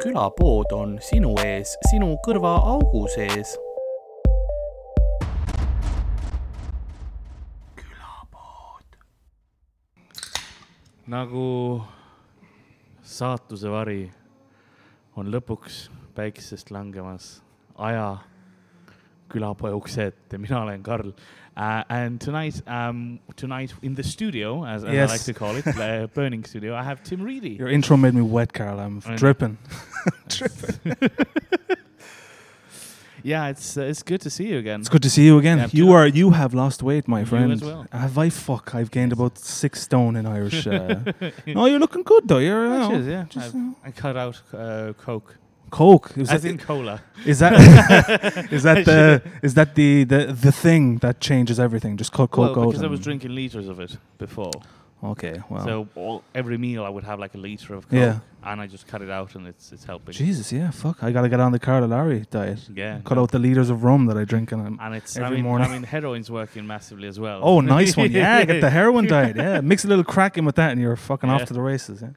külapood on sinu ees, sinu kõrvaaugu sees nagu saatuse vari on lõpuks päikesest langemas aja külapoe ukse ette. Mina olen Karl. Uh, and tonight, um, tonight in the studio, as, as Yes. I like to call it, uh, Burning Studio, I have Tim Reedy. Your intro made me wet, Carol. I'm I know. Mm-hmm. dripping. yeah, it's uh, it's good to see you again. It's good to see you again. Yeah, you too. are you have lost weight, my You friend. as well. Have I fuck? I've gained about six stone in Irish. Uh, no, you're looking good though. You're you Oh, know, cheers, yeah. just, I've- you know. I cut out uh, Coke, Coke. Is as that, in cola. is that is that the is that the, the the thing that changes everything? Just cut Coke well, out. because I was and- drinking liters of it before. Okay. Wow. So all, every meal I would have like a liter of Coke, Yeah. and I just cut it out, and it's it's helping. Jesus. Yeah. Fuck. I gotta get on the Carolari diet. Yeah. Cut no. out the liters of rum that I drink and I'm. And it's I every mean, morning. I mean heroin's working massively as well. Oh, nice one. Yeah, get the heroin diet. Yeah, mix a little crack in with that and you're fucking Yeah. off to the races. Yeah.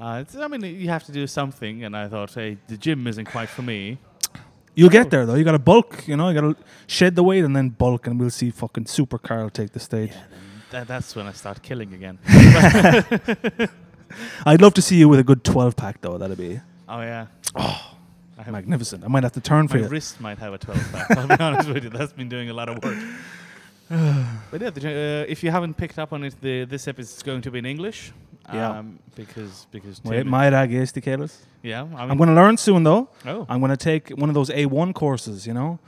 Uh, it's, I mean, you have to do something, and I thought, hey, the gym isn't quite for me. You'll get there though. You got to bulk. You know, you got to shed the weight and then bulk, and we'll see fucking Super Carl take the stage. Tha- that's when I start killing again. I'd love to see you with a good twelve pack though. That'd be oh yeah. I have, magnificent. I might have to my turn for you. wrist might have a 12 pack. I'll be honest with you, that's been doing a lot of work. but yeah, the, gy- uh, if you haven't picked up on it, the, this episode is going to be in English. Yeah. Um, because because Wait, Tim- my dag is the Carlos. yeah, I I'm mean, going to learn soon though. oh, I'm going to take one of those A1 courses. You know,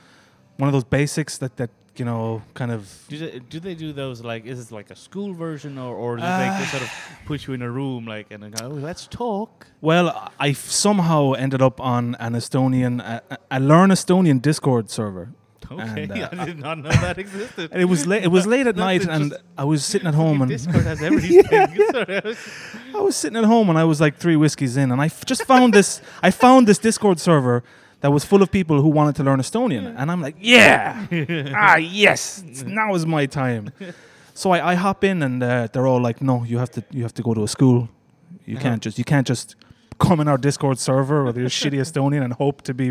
one of those basics that that you know kind of. Do they, do they do those like is it like a school version or or do they just sort of put you in a room like and then go oh, let's talk? Well, I- I somehow ended up on an Estonian, a, a- a Learn Estonian Discord server. Okay, And, uh, I did not know that existed. And it was late. It was late at night, Nothing, and just- I was sitting at home and. Discord has everything. Sorry, I was- I was sitting at home and I was like three whiskeys in, and I f- just found this. I found this Discord server that was full of people who wanted to learn Estonian, and I'm like, yeah, ah, yes, it's- now is my time. So I, I hop in, and uh, they're all like, no, you have to, you have to go to a school. You Uh-huh. can't just, you can't just come in our Discord server with your shitty Estonian and hope to be,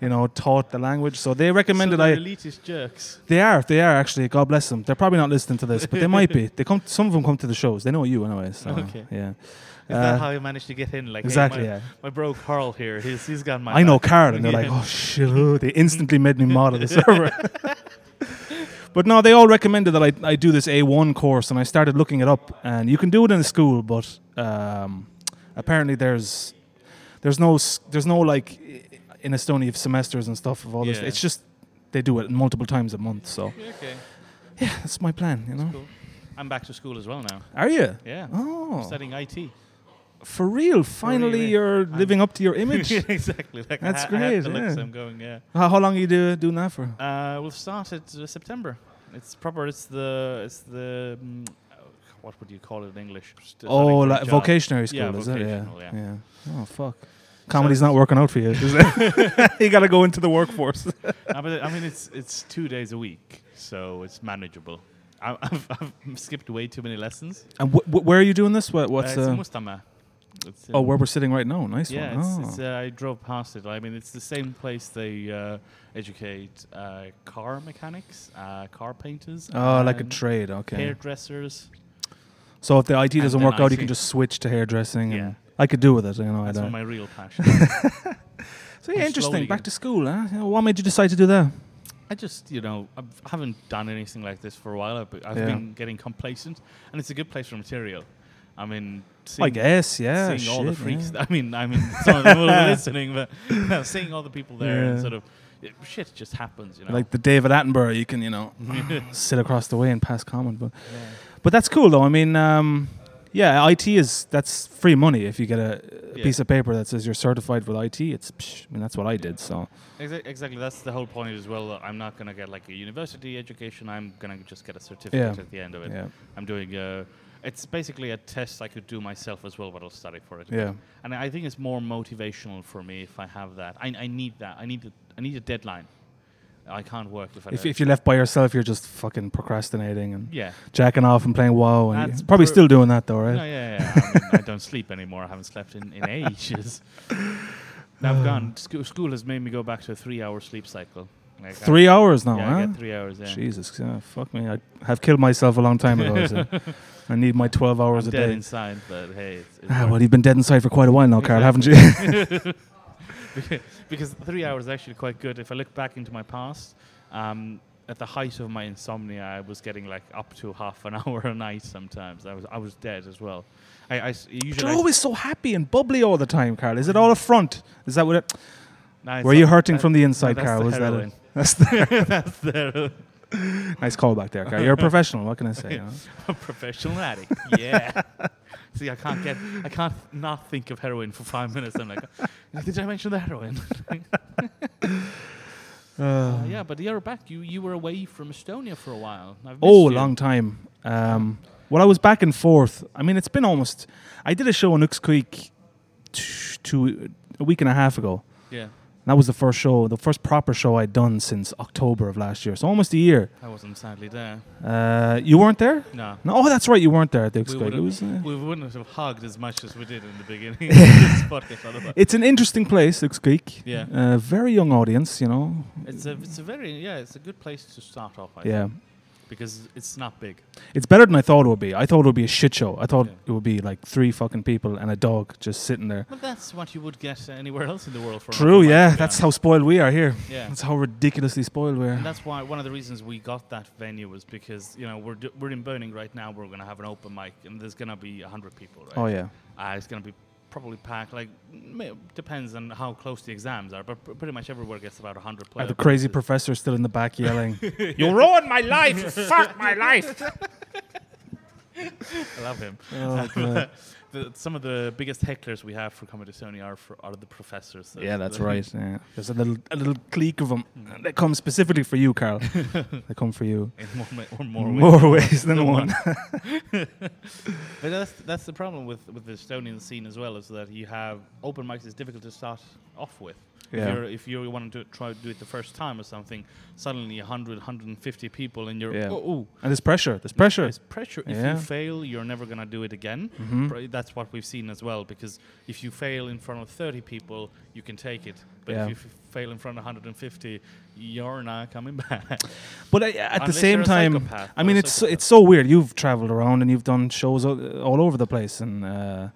you know, taught the language. So they recommended so I. they're elitist jerks. They are, they are actually. God bless them. They're probably not listening to this, but they might be. They come. Some of them come to the shows. They know you, anyway. So, Okay. Yeah. Is Uh, that how you managed to get in? Like hey, exactly, my, yeah. my bro Carl here, he's he's got my. I know back. Carl, and they're like, Yeah. oh shit, oh," they instantly made me mod of the server. but no, they all recommended that I, I do this A1 course, and I started looking it up. And you can do it in a school, but um, apparently there's there's no s- there's no like i- in Estonia of semesters and stuff of all this. Yeah. It's just they do it multiple times a month. So Yeah, Okay, that's my plan. You know, cool. I'm back to school as well now. are you? Yeah. I'm Oh, studying IT. for real! Finally, yeah. you're I'm- living up to your image. Yeah, exactly. Like I That's ha- I had great, to look, yeah. so I'm going. Yeah. how, how long are you do, doing that for? Uh, we've started uh, September. It's proper. It's the it's the mm, uh, what would you call it in English? Just, uh, Oh, starting for a like job. vocationary school, Yeah, is it? Yeah. vocational, yeah. yeah. Oh fuck. Comedy's not working out for you. Is it? you got to go into the workforce. No, Uh, but I mean, it's it's two days a week, so it's manageable. I, I've, I've skipped way too many lessons. And wh- wh- where are you doing this? What, what's uh, it's in uh, Mustama. It's in- oh where we're sitting right now? Nice yeah, one. it's, oh. it's, uh, I drove past it. I mean, it's the same place they uh, educate uh, car mechanics, uh, car painters. Oh, like a and trade. Okay. Hairdressers. so if the IT doesn't then work out, you IT. can just switch to hairdressing. Yeah. And I could do with it. You know. I That's don't. my real passion. I'm so yeah, interesting. slowly Back getting- to school. Huh? Yeah, What made you decide to do that? I just, you know, I haven't done anything like this for a while. I've, I've Yeah. been getting complacent, and it's a good place for material. I mean, seeing, I guess. Yeah. seeing all the shit, freaks. yeah. I mean, I mean, some of them will be listening, but you know, seeing all the people there and Yeah. sort of it, shit just happens, you know. Like the David Attenborough, you can you know sit across the way and pass comment, but. But that's cool though. I mean, um, yeah, IT is that's free money if you get a, a Yeah. piece of paper that says you're certified with IT. It's psh, I mean that's what I did. So Exa- exactly. That's the whole point as well. I'm not gonna get like a university education. I'm gonna just get a certificate Yeah. at the end of it. yeah, I'm doing. Uh, it's basically a test I could do myself as well, but I'll study for it. yeah, and I think it's more motivational for me if I have that. I, I need that. I need a, I need a deadline. I can't work if I If, don't. if you're left by yourself, you're just fucking procrastinating and yeah. jacking off and playing WoW. And That's you're probably pr- still doing that though, right? No, yeah, yeah. I, mean, I don't sleep anymore. I haven't slept in, in ages. Now I've gone. School, school has made me go back to a three-hour sleep cycle. Like I- Three hours now, yeah, I huh? get three hours. Yeah. Jesus, yeah, fuck me. I have killed myself a long time ago. so I need my 12 hours I'm a dead day. inside, but hey, it's, it's ah, worth well, you've been dead inside for quite a while now, Carl, haven't you? Beca- because three hours is actually quite good. If I look back into my past, um, at the height of my insomnia, I was getting like up to half an hour a night sometimes. I was I was dead as well. I, I s- usually But you're always so happy and bubbly all the time, Carl. Is it all a front? Is that what it? Nah, it's Were you not- hurting that- from the inside, no, that's Carl? the Was that it? heroin. That's the that's the nice call back there, Carl. You're a professional. What can I say? you know? professional addict. Yeah. See, I can't get I can't not think of heroin for five minutes. I'm like, did I mention the heroin? Uh, yeah, but you're back. You you were away from Estonia for a while. I've Oh, a missed you. long time. Um, well, I was back and forth. I mean, it's been almost. I did a show on Nooks Creek t- two a week and a half ago. Yeah, And that was the first show, the first proper show I'd done since October of last year. So almost a year. I wasn't sadly there. Uh, you weren't there? No. No, oh, that's right. You weren't there at the Nooks We Creek. It wouldn't, was, uh, we wouldn't have hugged as much as we did in the beginning. of this podcast, otherwise. it's an interesting place, Nooks Creek. Yeah. Uh, very young audience, you know. It's a it's a very yeah it's a good place to start off. I Yeah. think, because it's not big. It's better than I thought it would be. I thought it would be a shit show. I thought Yeah. it would be like three fucking people and a dog just sitting there. Well, that's what you would get anywhere else in the world for. an True, open mic, yeah. to be That's how honest. spoiled we are here. Yeah. That's how ridiculously spoiled we are. And that's why one of the reasons we got that venue was because you know we're do, we're in Burning right now. We're going to have an open mic and there's going to be hundred people. Right? Oh yeah. Uh, it's going to be probably packed. Like may- depends on how close the exams are, but pr- pretty much everywhere gets about hundred. I have a crazy professor still in the back yelling. You ruined my life. You fucked my life. I love him. Oh, God. The, some of the biggest hecklers we have for Comedy Sony are, for, are the professors. so Yeah. There's a little a little clique of them Hmm. that come specifically for you, Carl. they come for you. In more, ma- or more More, ways. ways than one. But that's that's the problem with with the Estonian scene as well is that you have open mics is difficult to start off with. Yeah. If you're if you want to try to do it the first time or something, suddenly 100, 150 people and you're Yeah. oh, oh and there's pressure. There's pressure. There's pressure. If Yeah. Mm-hmm. you fail, you're never going to do it again. Pr- That's what we've seen as well, because if you fail in front of 30 people, you can take it. But Yeah. if you f- fail in front of 150, you're not coming back. But I, at the Unless same you're a time, psychopath I or mean, a it's so, it's so weird. You've traveled around and you've done shows all, all over the place, and uh,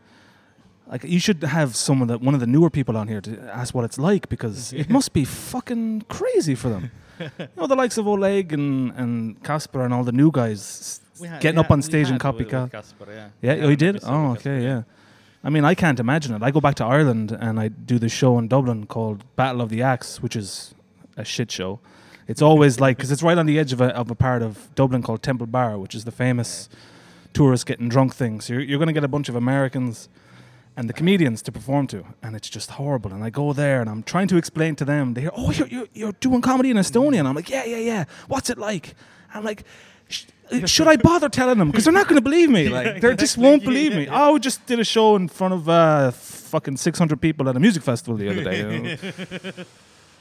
like you should have someone that one of the newer people on here to ask what it's like because it must be fucking crazy for them. you know, the likes of Oleg and and Casper and all the new guys s- We had- getting yeah, up on we stage and had with- with copycat. Kasper, yeah. Yeah, We oh, you had an did. episode Oh, with Kasper, okay, yeah. I mean, I can't imagine it. I go back to Ireland and I do this show in Dublin called Battle of the Axe, which is a shit show. It's always like because it's right on the edge of a of a part of Dublin called Temple Bar, which is the famous tourists getting drunk thing. So you're, you're going to get a bunch of Americans and the comedians to perform to, and it's just horrible. And I go there and I'm trying to explain to them. They hear, "Oh, you're you're, you're doing comedy in Estonia," and I'm like, "Yeah, yeah, yeah. What's it like?" I'm like. "Sh- uh, Should I bother telling them? Because they're not going to believe me. Like they just won't believe me. Oh, we just did a show in front of uh, fucking six hundred people at a music festival the other day. you know.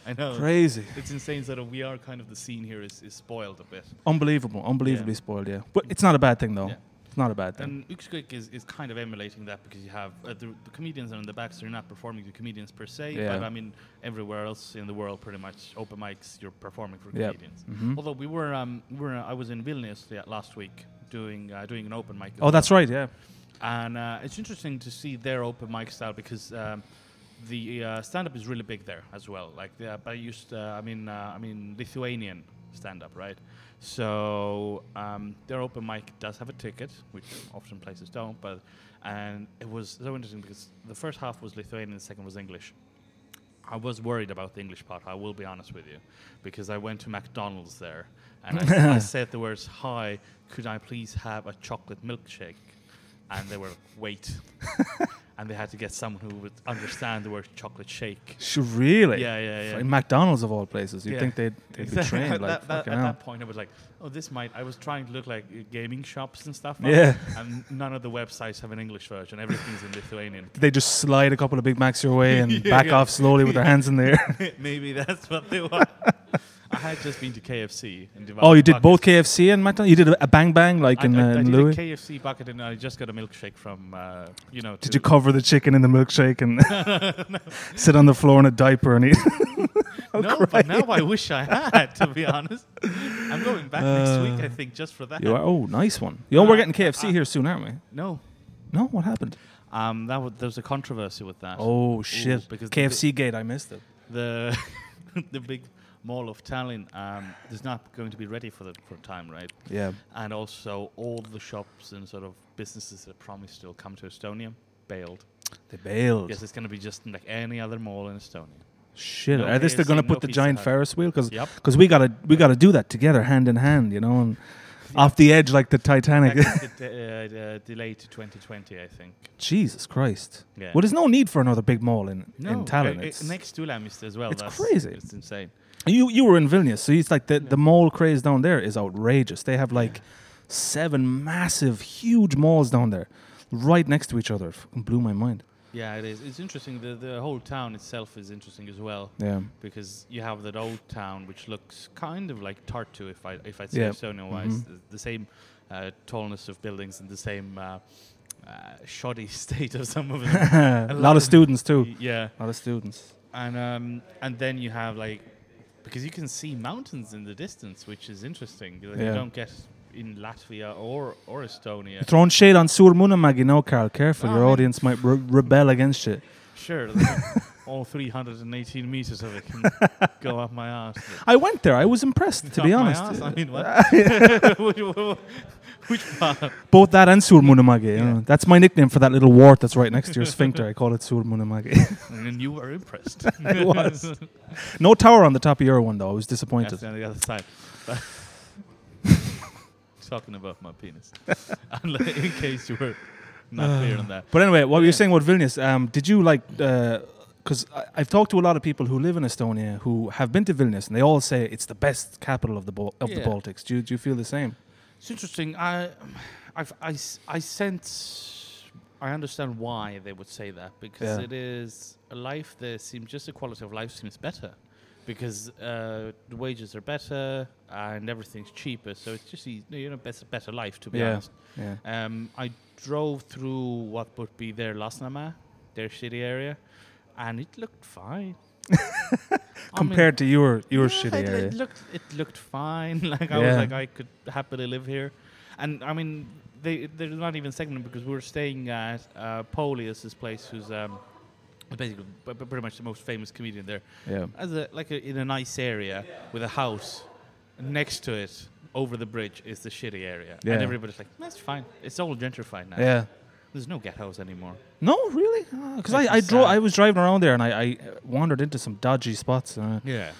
I know. Crazy. It's insane that we are kind of the scene here is, is spoiled a bit. Unbelievable, unbelievably spoiled. Yeah, but it's not a bad thing though. Yeah. It's not a bad thing. And Uxkrik is, is kind of emulating that because you have uh, the, the comedians are in the back, so you're not performing to comedians per se, Yeah. but I mean, everywhere else in the world, pretty much open mics, you're performing for Yeah. comedians. Mm-hmm. Although we were, um, we were, I was in Vilnius the- last week doing uh, doing an open mic. as Oh, that's well. right. Yeah. And uh, it's interesting to see their open mic style because um, the uh, stand up is really big there as well. Like, the, but I used, uh, I mean, uh, I mean, Lithuanian stand up, right? So um, their open mic does have a ticket, which often places don't. But and it was so interesting because the first half was Lithuanian, the second was English. I was worried about the English part. I will be honest with you, because I went to McDonald's there and I, I said the words "Hi, could I please have a chocolate milkshake?" And they were wait, and they had to get someone who would understand the word chocolate shake. Sh- Really? Yeah, yeah, yeah. F- In McDonald's of all places, you'd Yeah. think they'd, they'd be Exactly. trained. Like, That- that- fucking at hell. that point, I was like, "Oh, this might." I was trying to look like uh, gaming shops and stuff. up, Yeah. and none of the websites have an English version. Everything's in Lithuanian. Did they just slide a couple of Big Macs your way and Yeah, back yeah. off slowly with their hands in the air? Maybe that's what they want. I had just been to KFC. And Oh, you did both. both KFC and McDonald's. You did a a bang bang like in, I, uh, I, I in did Louis. a KFC bucket, and I just got a milkshake from uh, you know. Did you cover the chicken in the milkshake and sit on the floor in a diaper and eat? No, but now I wish I had. To be honest, I'm going back next week. I think just for that. Uh, you are, oh, nice one. You know, we're Uh, getting KFC here soon, aren't we? No, No, what happened? um, that w- there's a controversy with that. Oh shit. shit! because the- KFC gate, I missed it. The the big mall of Tallinn um, is not going to be ready for the for time, right? Yeah. And also, all the shops and sort of businesses that promised they'll come to Estonia bailed. They bailed. Yes, it's going to be just like any other mall in Estonia. Shit! No Are this they're gonna KFC, put no the Pizza giant Hut. Ferris wheel? Because Yep. we gotta we gotta do that together, hand in hand, you know, and off the edge like the Titanic. That could, uh, uh, delay to 2020, I think. Jesus Christ! Yeah. Well, there's no need for another big mall in in uh, Tallinn. uh, It's- next to Lamist as well. it's That's, crazy. It's insane. You you were in Vilnius, so it's like the, the mall craze down there is outrageous. They have like seven massive, huge malls down there, right next to each other. Fucking blew my mind. Yeah, it is. It's interesting. The the whole town itself is interesting as well Yeah. because you have that old town which looks kind of like Tartu, if I if I say Yeah. Mm-hmm. Estonia wise, the, the same uh, tallness of buildings and the same. Uh, uh, shoddy state of some of them. a lot of students too. yeah, A lot of students. and um, and then you have like because you can see mountains in the distance, which is interesting. Like, You Yeah. don't get in Latvia or or Estonia. You're throwing shade on Sur Munamag, you know, Carl. Careful, No, your I mean- audience might re- rebel against you. Sure, like, all 318 meters of it can go up my ass. I went there. I was impressed, to be honest. uh, I mean, what? Which- which- which part? Both that and Sur Munamag. you Yeah. know. That's my nickname for that little wart that's right next to your sphincter. I call it Sur Munamag. And you were impressed. I was. no tower on the top of your one, though. I was disappointed. That's on the other side. But- Talking about my penis. Unless- in case you were not clear on that. But anyway, what you Yeah. were saying about Vilnius, um, did you like, because I I've talked to a lot of people who live in Estonia who have been to Vilnius and they all say it's the best capital of the, Bal- of the Yeah. Baltics. Do you, do you feel the same? It's interesting. I, I've, I, s- I sense, I understand why they would say that because Yeah. it is a life that seems just the quality of life seems better because uh, the wages are better and everything's cheaper. So it's just eas- you know better better life to be Yeah. honest. Yeah. Um, I drove through what would be their Lasnama, their city area, and it looked fine. I mean, Compared to your, your yeah, shitty it, area. It looked it looked fine. Like I was Yeah. like I could happily live here, and I mean they they're not even segmented because we were staying at uh, Polius, this place who's um basically p- p- pretty much the most famous comedian there, yeah. as a like a, in a nice area with a house next to it. Over the bridge is the shitty area, Yeah. and everybody's like, "That's fine. It's all gentrified now. Yeah. There's no ghettos anymore." No, really? Makes Because I, me I drove. sad. I was driving around there and I, I wandered into some dodgy spots. Uh, Yeah,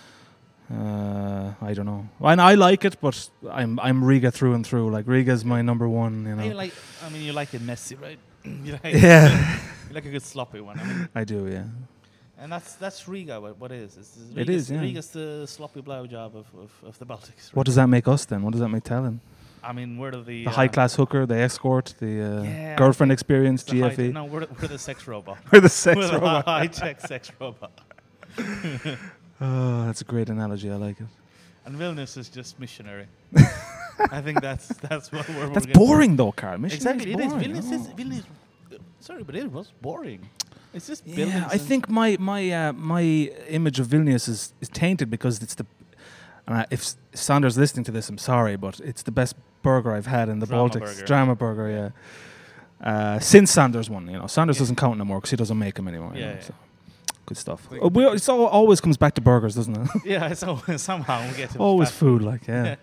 uh, I don't know. And I like it, but I'm I'm Riga through and through. Like Riga's my number one. You know. you like, I mean, you like it messy, right? you like, Yeah. you like a good sloppy one. I mean, I do. Yeah. And that's that's Riga. What, what it is It's- it's It Riga's, is, yeah. Riga's the sloppy blowjob of, of, of the Baltics. What does that make us then? What does that make Talon? I mean, we're the the uh, The high class hooker, the escort, the uh, Yeah, girlfriend experience, the high- GFE. no, we're, the- we're the sex robot. We're the E? sex we're robot. the high tech sex robot. Oh, that's a great analogy. I like it. And Vilnius is just missionary. I think that's that's what we're. That's we're gonna- boring though, Carl. Mission Exactly, it is. boring. Vilnius is Oh. Vilnius. Sorry, but it was boring. It's just buildings. Yeah, I and- think my my uh, my image of Vilnius is, is tainted because it's the and I, if S- Sanders listening to this, I'm sorry, but it's the best burger I've had in the Drama Baltics. burger. Drama burger, yeah. Uh, since Sanders won, you know, Sanders Yeah. doesn't count anymore because he doesn't make them anymore. you Yeah, know, yeah. so. good stuff. Like- Uh, we, it's all, always comes back to burgers, doesn't it? Yeah, so somehow we get to always fast food, like yeah,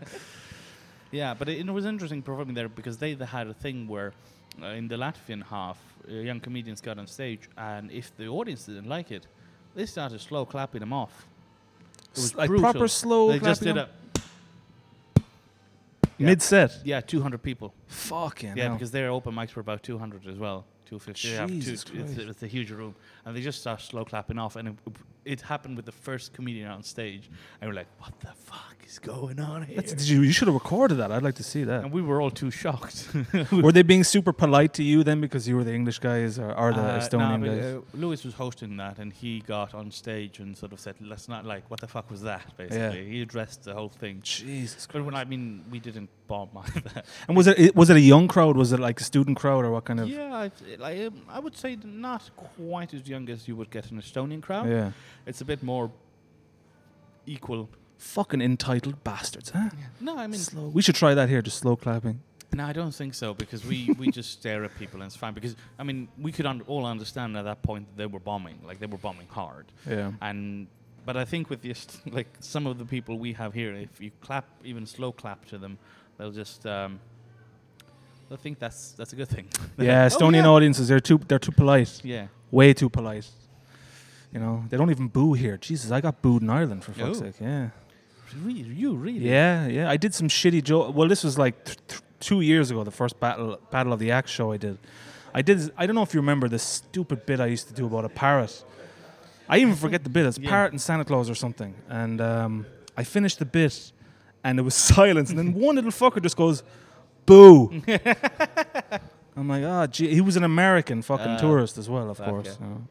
Yeah, but it, it was interesting performing there because they, they had a thing where uh, in the Latvian half, uh, young comedians got on stage, and if the audience didn't like it, they started slow clapping them off. It was S- like brutal. proper slow. they just did a Yeah. mid set. yeah, 200 people. Fucking yeah, hell. because their open mics were about 200 as well. 250. They have two- Jesus it's, Christ. it's a huge room. And they just start slow clapping off. And it, it happened with the first comedian on stage. And we're like, what the fuck is going on here? That's, did you, you should have recorded that. I'd like to see that. and we were all too shocked. Were they being super polite to you then because you were the English guys or, or the Uh, nah, Estonian but, guys? uh, Lewis was hosting that, and he got on stage and sort of said, "Let's not like what the fuck was that?" Basically, he addressed the whole thing. Jesus But when I mean, we didn't bomb either. And was it- it was it a young crowd? Was it like a student crowd or what kind of? yeah, I, like, um, I would say not quite as young as you would get an Estonian crowd. Yeah. It's a bit more equal. Fucking entitled bastards, huh? No, I mean, Slow. We should try that here, just slow clapping. no, I don't think so because we, we just stare at people and it's fine. Because I mean, we could un- all understand at that point that they were bombing, like they were bombing hard. Yeah. and but I think with this, like some of the people we have here, if you clap even slow clap to them, they'll just um, they'll think that's that's a good thing. Yeah, Oh, Estonian yeah. audiences, they're too they're too polite. yeah. Way too polite. You know, they don't even boo here. Jesus, I got booed in Ireland for fuck's Oh. sake. Yeah. Really, you really? Yeah, yeah. I did some shitty joke. Well, this was like th- th- two years ago, the first battle Battle of the Axe show I did. I did. I don't know if you remember this stupid bit I used to do about a parrot. I even forget the bit. It's Yeah. parrot and Santa Claus or something. And um, I finished the bit, and there was silence. And then one little fucker just goes, "Boo." I'm like, ah, gee. he was an American fucking Ah. tourist as well, of Okay. course. you know.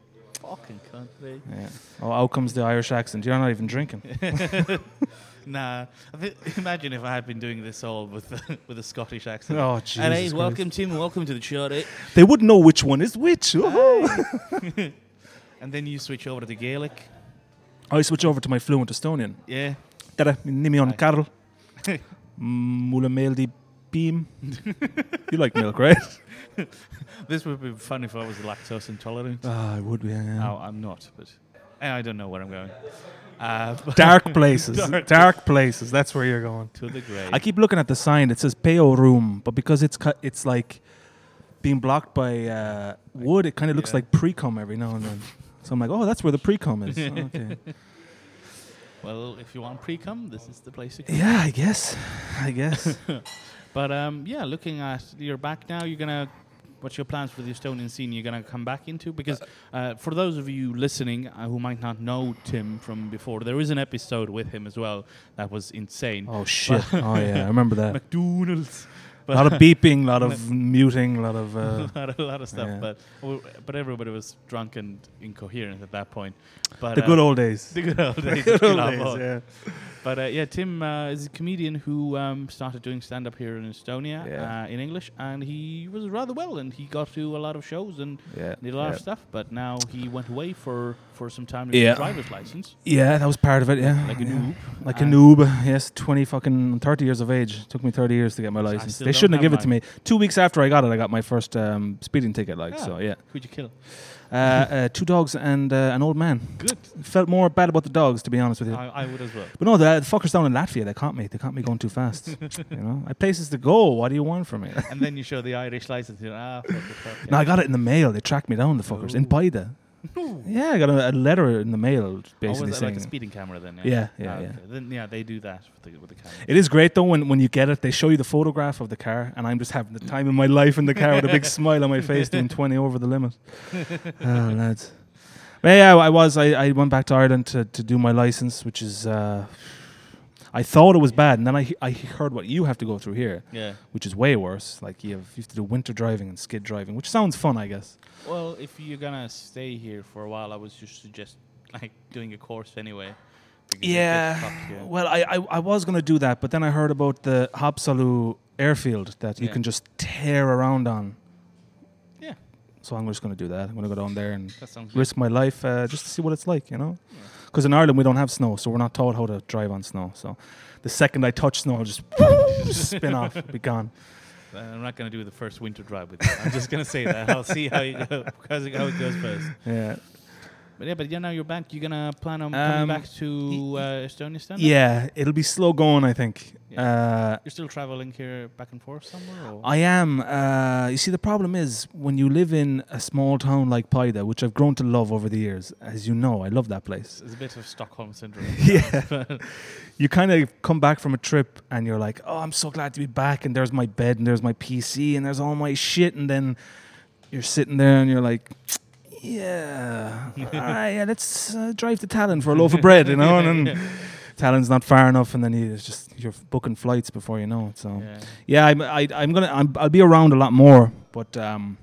Fucking country. Yeah. Oh, out comes the Irish accent. You're not even drinking. Nah. I thi- imagine if I had been doing this all with with a Scottish accent. oh, Jesus. Hello, Christ. welcome Tim, welcome to the show. eh? They wouldn't know which one is which. Woohoo. And then you switch over to the Gaelic. I switch over to my fluent Estonian. Yeah. Tere, min nimi on Aye. Karl. Mulle meeldib piim. You like milk, right? This would be fun if I was lactose intolerant. Ah, I would be. yeah, yeah. No, I'm not, but eh, I don't know where I'm going. Uh, but- Dark places. Dark. Dark. places. That's where you're going. to the grave. I keep looking at the sign. It says Peo Room, but because it's cut, it's like being blocked by uh, wood. It kind of looks Yeah. like pre-cum every now and then. So I'm like, oh, that's where the pre-cum is. Okay. well, if you want pre-cum, this is the place to come. yeah, I guess. I guess. But um, yeah, looking at you're back now, you're gonna. What's your plans for the Estonian scene? You're gonna come back into because uh, for those of you listening uh, who might not know Tim from before, there is an episode with him as well that was insane. oh shit. Oh yeah, I remember that. McDonald's. A lot of beeping, a lot of muting, a lot of. Uh, a lot- a lot of stuff, Yeah. but w- but everybody was drunk and incoherent at that point. But the uh, good old days. the good old days, Good the old good days, old- yeah. But uh, yeah, Tim uh, is a comedian who um, started doing stand up here in Estonia Yeah. uh, in English, and he was rather well, and he got to a lot of shows and Yeah. did a lot yeah. of stuff. But now he went away for, for some time to get Yeah. a driver's license, Yeah, that was part of it. Yeah, like a yeah. noob. Like a And- noob, yes, twenty fucking thirty years of age. Took me thirty years to get my So I license. still They don't shouldn't have have given it to me. Two weeks after I got it, I got my first um, speeding ticket. Like Ah. so, yeah. Who'd you kill? Uh, uh, two dogs and uh, an old man. Good. Felt more bad about the dogs, to be honest with you. I, I would as well. but no, the, the fuckers down in Latvia, they caught me. They caught me going too fast. you know, I places to go. What do you want from me? And then you show the Irish license, you're ah, fuck, fuck, fuck, No, yeah. I got it in the mail. They tracked me down, the fuckers, in Ooh. Baida. Yeah, I got a, a letter in the mail Oh, basically was that saying. like a speeding camera then? Yeah, Ah, yeah, yeah. okay. Then yeah, they do that with the, with the camera. It is great though when, when you get it, they show you the photograph of the car, and I'm just having the time of my life in the car with a big smile on my face doing 20 over the limit. Oh, lads. But yeah, I was. I, I went back to Ireland to, to do my license, which is. Uh, I thought it was bad, and then I, he- I heard what you have to go through here, Yeah. which is way worse. Like you have, you have to do winter driving and skid driving, which sounds fun, I guess. Well, if you're gonna stay here for a while, I would just suggest like doing a course anyway. because it gets fucked here. Well, I, I, I was going to do that, but then I heard about the Hapsalu airfield that you Yeah. can just tear around on. Yeah, So I'm just going to do that. I'm going to go down there and that sounds good. risk my life uh, just to see what it's like, you know? Yeah. Because in Ireland, we don't have snow, so we're not taught how to drive on snow. So the second I touch snow, I'll just spin off, be gone. Uh, I'm not gonna do the first winter drive with you. I'm just gonna say that. I'll see how you go, how's it- how it goes first. Yeah. But yeah, but yeah, now you're back. You're gonna plan on Um, coming back to uh, Estonia, stand up? Yeah, it'll be slow going, I think. Uh, You're still traveling here back and forth somewhere? Or? I am. Uh, you see, the problem is when you live in a small town like Paida, which I've grown to love over the years, as you know, I love that place. There's a bit of Stockholm syndrome. Yeah. you kind of come back from a trip and you're like, oh, I'm so glad to be back. And there's my bed and there's my PC and there's all my shit. And then you're sitting there and you're like, yeah, ah, yeah, let's uh, drive to Talon for a loaf of bread, you know, and then Talon's not far enough, and then you it's just you're booking flights before you know it. So Yeah. yeah, I'm, I, I'm gonna I'm, I'll be around a lot more, but um,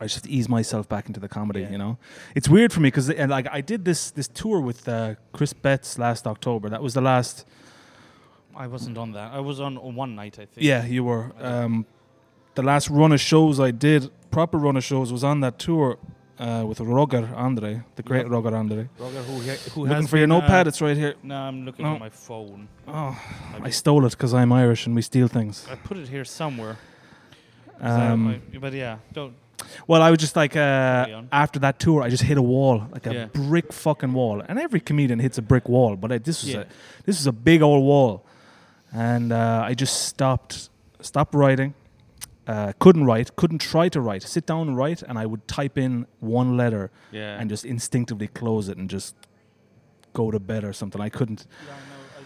I just ease myself back into the comedy. Yeah. You know, it's weird for me because like I did this this tour with uh, Chris Betts last October. That was the last. I wasn't on that. I was on on one night, I think. Yeah, you I were. don't- Um, the last run of shows I did, proper run of shows, was on that tour uh, with Roger Andre, the great Yep. Roger Andre. Roger, who, he- who Looking has for your been, uh, notepad, it's right here. no, I'm looking No. on my phone. Oh, I just- stole it because I'm Irish and we steal things. I put it here somewhere. 'cause I- Um, I- but yeah, don't. Well, I was just like, Carry uh, on. after that tour, I just hit a wall, like a Yeah. brick fucking wall. And every comedian hits a brick wall, but I, this was Yeah. a this was a big old wall, and uh, I just stopped stopped writing. Uh, couldn't write, couldn't try to write. Sit down and write, and I would type in one letter Yeah. and just instinctively close it and just go to bed or something. I couldn't. Yeah, no,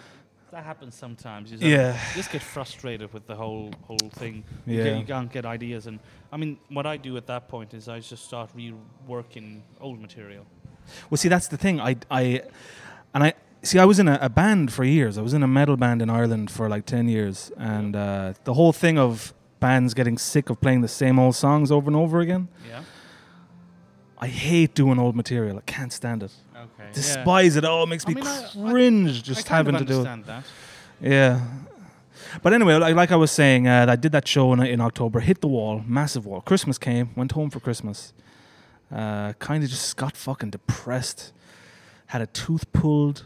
I, that happens sometimes. You Yeah. you just get frustrated with the whole whole thing. You, Yeah. get, you can't get ideas, and I mean, what I do at that point is I just start reworking old material. Well, see, that's the thing. I, I, and I see. I was in a, a band for years. I was in a metal band in Ireland for like ten years, and uh, the whole thing of bands getting sick of playing the same old songs over and over again. Yeah. I hate doing old material. I can't stand it. Okay. Despise it. Oh, it makes I me mean, I- I- cringe just having to do it. do that. Yeah. But anyway, like, like I was saying, uh, I did that show in, in October, hit the wall, massive wall. Christmas came, went home for Christmas. Uh, kind of just got fucking depressed. Had a tooth pulled.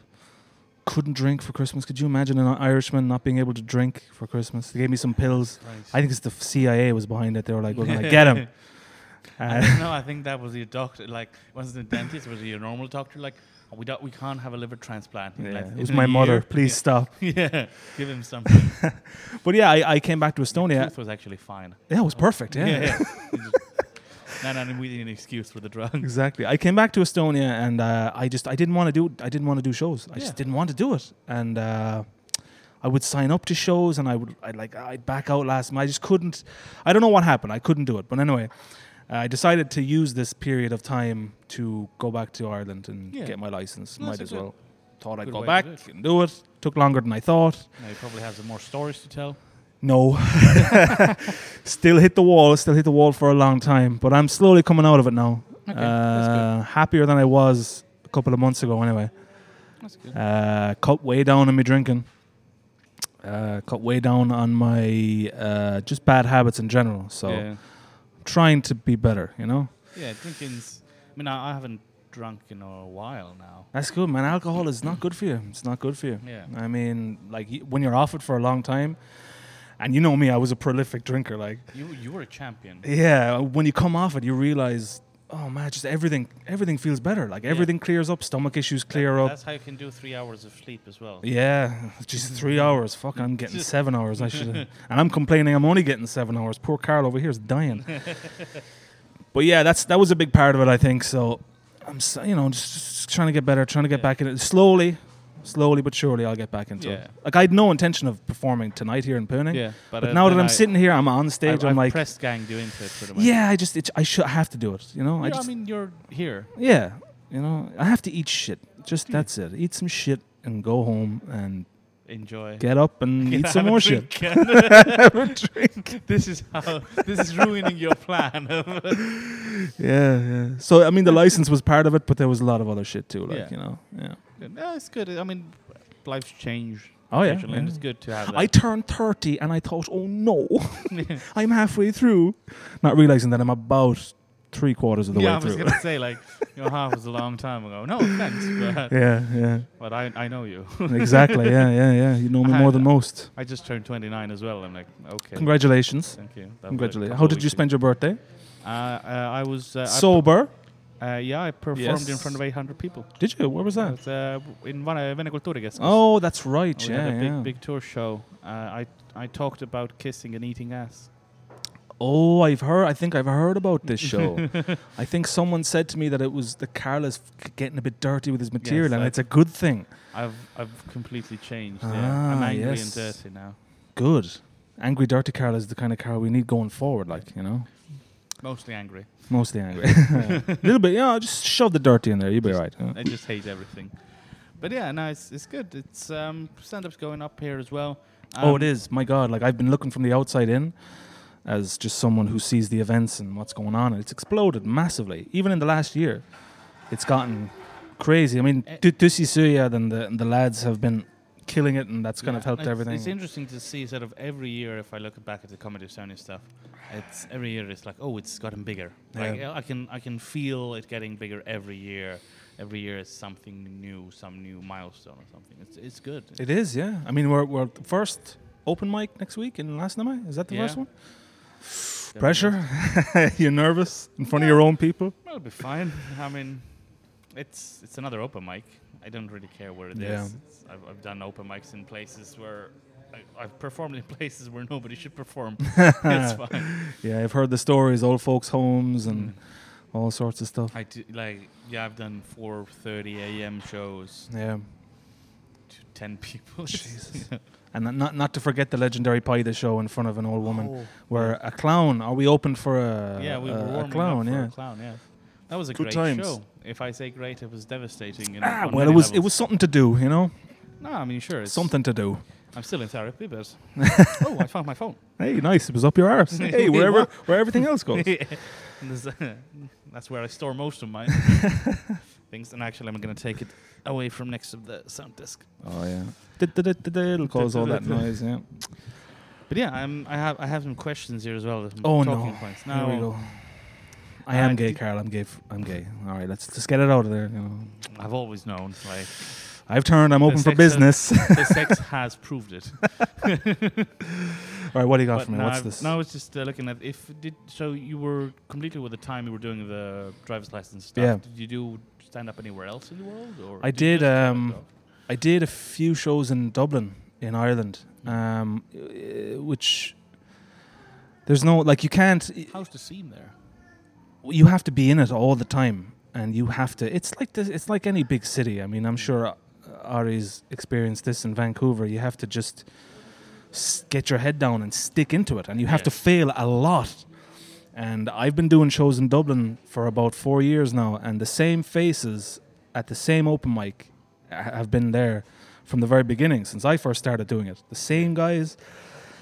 Couldn't drink for Christmas. Could you imagine an Irishman not being able to drink for Christmas? They gave me some pills. I think it's the CIA was behind it. They were like, "We're gonna get him." I Uh, don't know. I think that was your doctor. Like, wasn't the dentist? Was it your normal doctor? Like, "Oh, we don't, we can't have a liver transplant. in, yeah, like, it was in a my mother. year." Please stop. Yeah. yeah. Give him something. But yeah, I, I came back to Yeah. Estonia. Tooth was actually fine. Yeah, it was perfect. yeah. no, no, no, we need an excuse for the drugs. Exactly. I came back to Estonia and uh, I just I didn't want to do I didn't want to do shows. I Yeah. just didn't want to do it. And uh, I would sign up to shows and I would I'd like I'd back out last minute. I just couldn't. I don't know what happened. I couldn't do it. But anyway, I decided to use this period of time to go back to Ireland and Yeah. get my license. No, Might that's a as good- well. Thought I'd good go way to back do it. and do it. Took longer than I thought. Now he probably has some more stories to tell. No. still hit the wall, still hit the wall for a long time, but I'm slowly coming out of it now. Okay, that's good. uh, happier than I was a couple of months ago, anyway. That's good. Uh, cut way down on my drinking. Uh, cut way down on my uh, just bad habits in general. So Yeah. trying to be better, you know. yeah, drinking's. I mean, I, I haven't drunk in a while now. That's good, man. Alcohol is not good for you. It's not good for you. Yeah. I mean, like y- when you're off it for a long time, and you know me, I was a prolific drinker. Like You you were a champion. Yeah, uh, when you come off it, you realize, oh man, just everything, everything feels better. Like everything clears up, stomach issues clear That- up. That's how you can do three hours of sleep as well. Yeah, just three hours. Fuck, I'm getting seven hours. I should, and I'm complaining. I'm only getting seven hours. Poor Carl over here is dying. but yeah, that's that was a big part of it, I think. So I'm, s- you know, just, just trying to get better, trying to get Yeah. back in it slowly, slowly but surely. I'll get back into Yeah. it. Like I had no intention of performing tonight here in Pooning. Yeah, but, but, uh, now that then I'm I- stage. sitting here, I'm on I, stage. I've am like, pressed gang you into it pretty much. yeah, I just, it, I should I have to do it. You know, Yeah, I I, just. mean, you're here. Yeah, you know, I have to eat shit. Just that's it. Eat some shit and go home and Enjoy. get up and eat some Have a more shit. drink. this is how. This is ruining your plan. Yeah, yeah. So I mean, the license was part of it, but there was a lot of other shit too. Like Yeah. you know, yeah. no, it's good. I mean, life's changed. Oh yeah. occasionally, and it's good to have. That. I turned thirty and I thought, oh no, I'm halfway through, not realizing that I'm about three quarters of the yeah, I way was through. gonna say like you know, half was a long time ago. No offense, but, yeah, yeah. but I I know you. Exactly. Yeah, yeah, yeah. You know me I more had- than most. I just turned 29 as well. I'm like, okay, Congratulations. thank you. That was a Congratulations. couple How did you weeks spend your birthday? ago. Uh, uh, I was uh, I Sober. per- uh, yeah, I performed in Yes. front of 800 people. Did you? Where was that? It was, uh, w- in Van- uh, Venecultura, I guess. Oh, that's right. we yeah, had a big yeah. big tour show. Uh, I I talked about kissing and eating ass. Oh, I've heard. I think I've heard about this show. I think someone said to me that it was the Carlos f- getting a bit dirty with his material, Yes, and I- it's a good thing. I've I've completely changed. yeah. I'm Ah, angry yes. and dirty now. Good. Angry, dirty Carl is the kind of Carl we need going forward. Like you know, Mostly angry. Mostly angry. A little bit, yeah. Just shove the dirty in there. You'll be right. Yeah. I just hate everything. But yeah, no, it's, it's good. It's um, stand-up's going up here as well. Um, oh, it is. My God, like I've been looking from the outside in, as just someone who sees the events and what's going on, and it's exploded massively. Even in the last year, it's gotten crazy. I mean, Eh. Tu- Tusi Suyad and the and the lads have been killing it, and that's kind Yeah, of helped it's- everything. It's interesting to see sort of every year if I look back at the comedy of Sony stuff, it's every year it's like oh it's gotten bigger. Like Yeah. I can I can feel it getting bigger every year. Every year is something new, some new milestone or something. It's it's good. It is, yeah. I mean, we're we're the first open mic next week in last night. Is that the Yeah. first one? Pressure. You're nervous in front of your own people. Well, it'll be fine. I mean, it's it's another open mic. I don't really care where it is. Yeah. It's- I've, I've done open mics in places where I, I've performed in places where nobody should perform. it's fine. Yeah, I've heard the stories, old folks' homes Mm. and all sorts of stuff. I do, like yeah, I've done 4:30 a.m. shows Yeah, to 10 people. Jesus. and not- not not to forget the legendary pie the show in front of an old woman, where a clown. Are we open for a Oh, yeah, we Uh, a, were warming a up clown? for yeah. a clown. Yeah, that was a great Good times. show. If I say great, it was devastating. in- Ah, on well, it many was it levels. was something to do, you know, No, I mean sure, it's, something to do. I'm still in therapy, but oh, I found my phone. Hey, nice. It was up your arse. hey, wherever What? where everything else goes. And there's, uh, That's where I store most of my things. And actually, I'm going to take it away from next to the sound disc. Oh yeah. It'll cause all that noise. Yeah. But yeah, I'm, I have I have some questions here as well. some Oh talking no. Points. Here we go. I Uh, am gay, did- Carl. I'm gay. f- I'm gay. All right, let's just get it out of there. You know, I've always known like I've turned. I'm open This for extra- business. All the sex has proved it. right, what do you got But for me? now What's I've- this? Now I was just uh, looking at if did so you were completely with the time you were doing the driver's license stuff. Yeah. Did you do stand up anywhere else in the world? Or I you just did, do it um, though? I did a few shows in Dublin, in Ireland, um, uh, which there's no like you can't. How's the scene there? You have to be in it all the time, and you have to. It's like this. It's like any big city. I mean, I'm sure uh, Ari's experienced this in Vancouver. You have to just s- get your head down and stick into it, and you have Yeah. to fail a lot. And I've been doing shows in Dublin for about four years now, and the same faces at the same open mic ha- have been there from the very beginning since I first started doing it. The same guys,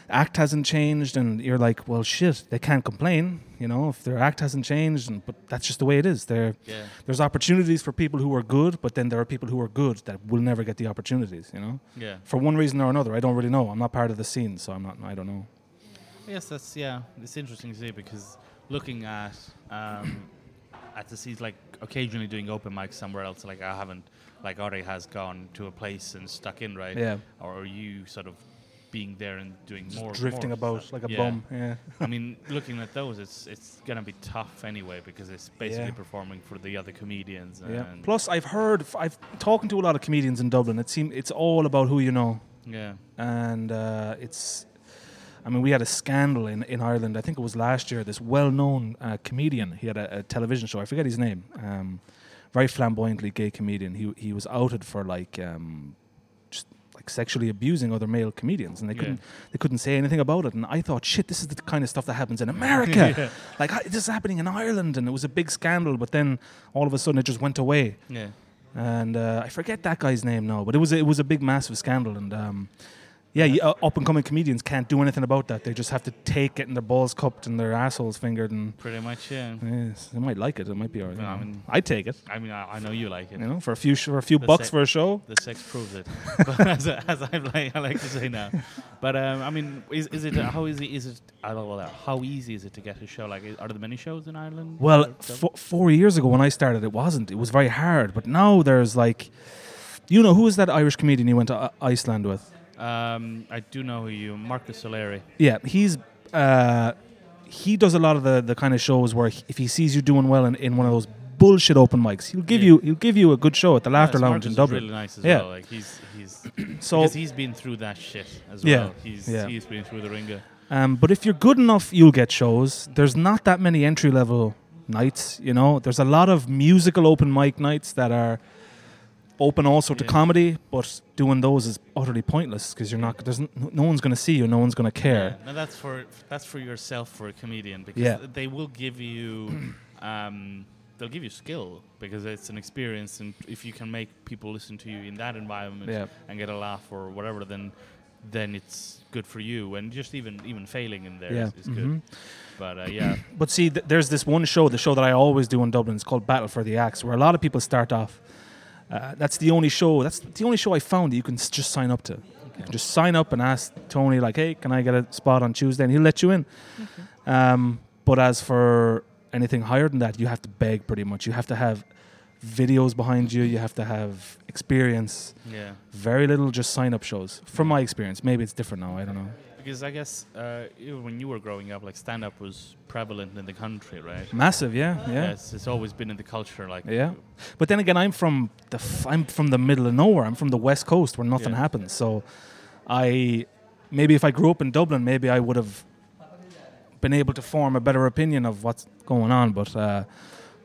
act hasn't changed, and you're like, well, shit, they can't complain, you know, if their act hasn't changed, and, but that's just the way it is. They're, Yeah. There's opportunities for people who are good, but then there are people who are good that will never get the opportunities, you know? Yeah. For one reason or another, I don't really know. I'm not part of the scene, so I'm not, I don't know. Yes, that's yeah. It's interesting to see because looking at um, at the scenes, like occasionally doing open mics somewhere else, like I haven't, like Ari has gone to a place and stuck in, right? Yeah. Or are you sort of being there and doing more Drifting more about stuff? like a Yeah. bum, yeah. I mean, looking at those, it's it's gonna be tough anyway because it's basically Yeah. performing for the other comedians. And Yeah. Plus, I've heard, f- I've talking to a lot of comedians in Dublin. It seem it's all about who you know, yeah, and uh, it's. I mean, we had a scandal in, in Ireland. I think it was last year. This well-known uh, comedian, he had a, a television show. I forget his name. Um, very flamboyantly gay comedian. He he was outed for like um, just like sexually abusing other male comedians, and they Yeah. couldn't they couldn't say anything about it. And I thought, shit, this is the kind of stuff that happens in America. Like I- this is happening in Ireland, and it was a big scandal. But then all of a sudden, it just went away yeah. and uh, I forget that guy's name now, but it was it was a big massive scandal, and um, yeah, you, uh, up and coming comedians can't do anything about that. They just have to take getting their balls cupped and their assholes fingered, and Pretty much, yeah. yes, they might like it. It might be alright. Yeah, I mean- I take it, I mean, I, I know you like it. you know, for a few sh- for a few The bucks sec- for a show. The sex proves it, but as, I- as I like, I like to say now. But um, I mean, is, is it how easy is it? I don't know, how easy is it to get a show? Like, is- are there many shows in Ireland? Well, Or some- fo- four years ago when I started, it wasn't. It was very hard, but now there's like, you know, who was that Irish comedian you went to I- Iceland with? um, I do know who you, Marcus Soleri. Yeah, he's uh, he does a lot of the, the kind of shows where he- if he sees you doing well in, in one of those bullshit open mics, he'll give Yeah. you he'll give you a good show at the Laughter Yes, Lounge Marcus in is Dublin. really nice as Yeah. well. Like he's he's so, because he's been through that shit as Yeah, well. He's yeah. he's been through the ringer. um, but if you're good enough, you'll get shows. There's not that many entry level nights, you know. There's a lot of musical open mic nights that are open also to Yeah. comedy, but doing those is utterly pointless because you're not. There's n- no one's going to see you. No one's going to care. Yeah, no, that's for that's for yourself for a comedian because Yeah. they will give you, um, they'll give you skill because it's an experience, and if you can make people listen to you in that environment Yeah. and get a laugh or whatever, then then it's good for you. And just even even failing in there is Yeah. Mm-hmm. is good. But uh, yeah, But see, th- there's this one show, the show that I always do in Dublin. It's called Battle for the Axe, where a lot of people start off. Uh, that's the only show. That's the only show I found that you can s- just sign up to. You can just sign up and ask Tony, like, "Hey, can I get a spot on Tuesday?" And he'll let you in. Um, but as for anything higher than that, you have to beg pretty much. You have to have videos behind you. You have to have experience. yeah. Very little just sign up shows, from my experience. Maybe it's different now. I don't know. Because I guess uh, even when you were growing up, like stand up was prevalent in the country, right? Massive, yeah, yeah. Yes, it's always been in the culture. Like Yeah. But then again, I'm from the f- I'm from the middle of nowhere. I'm from the west coast where nothing Yeah. happens. So, I maybe if I grew up in Dublin, maybe I would have been able to form a better opinion of what's going on. But uh,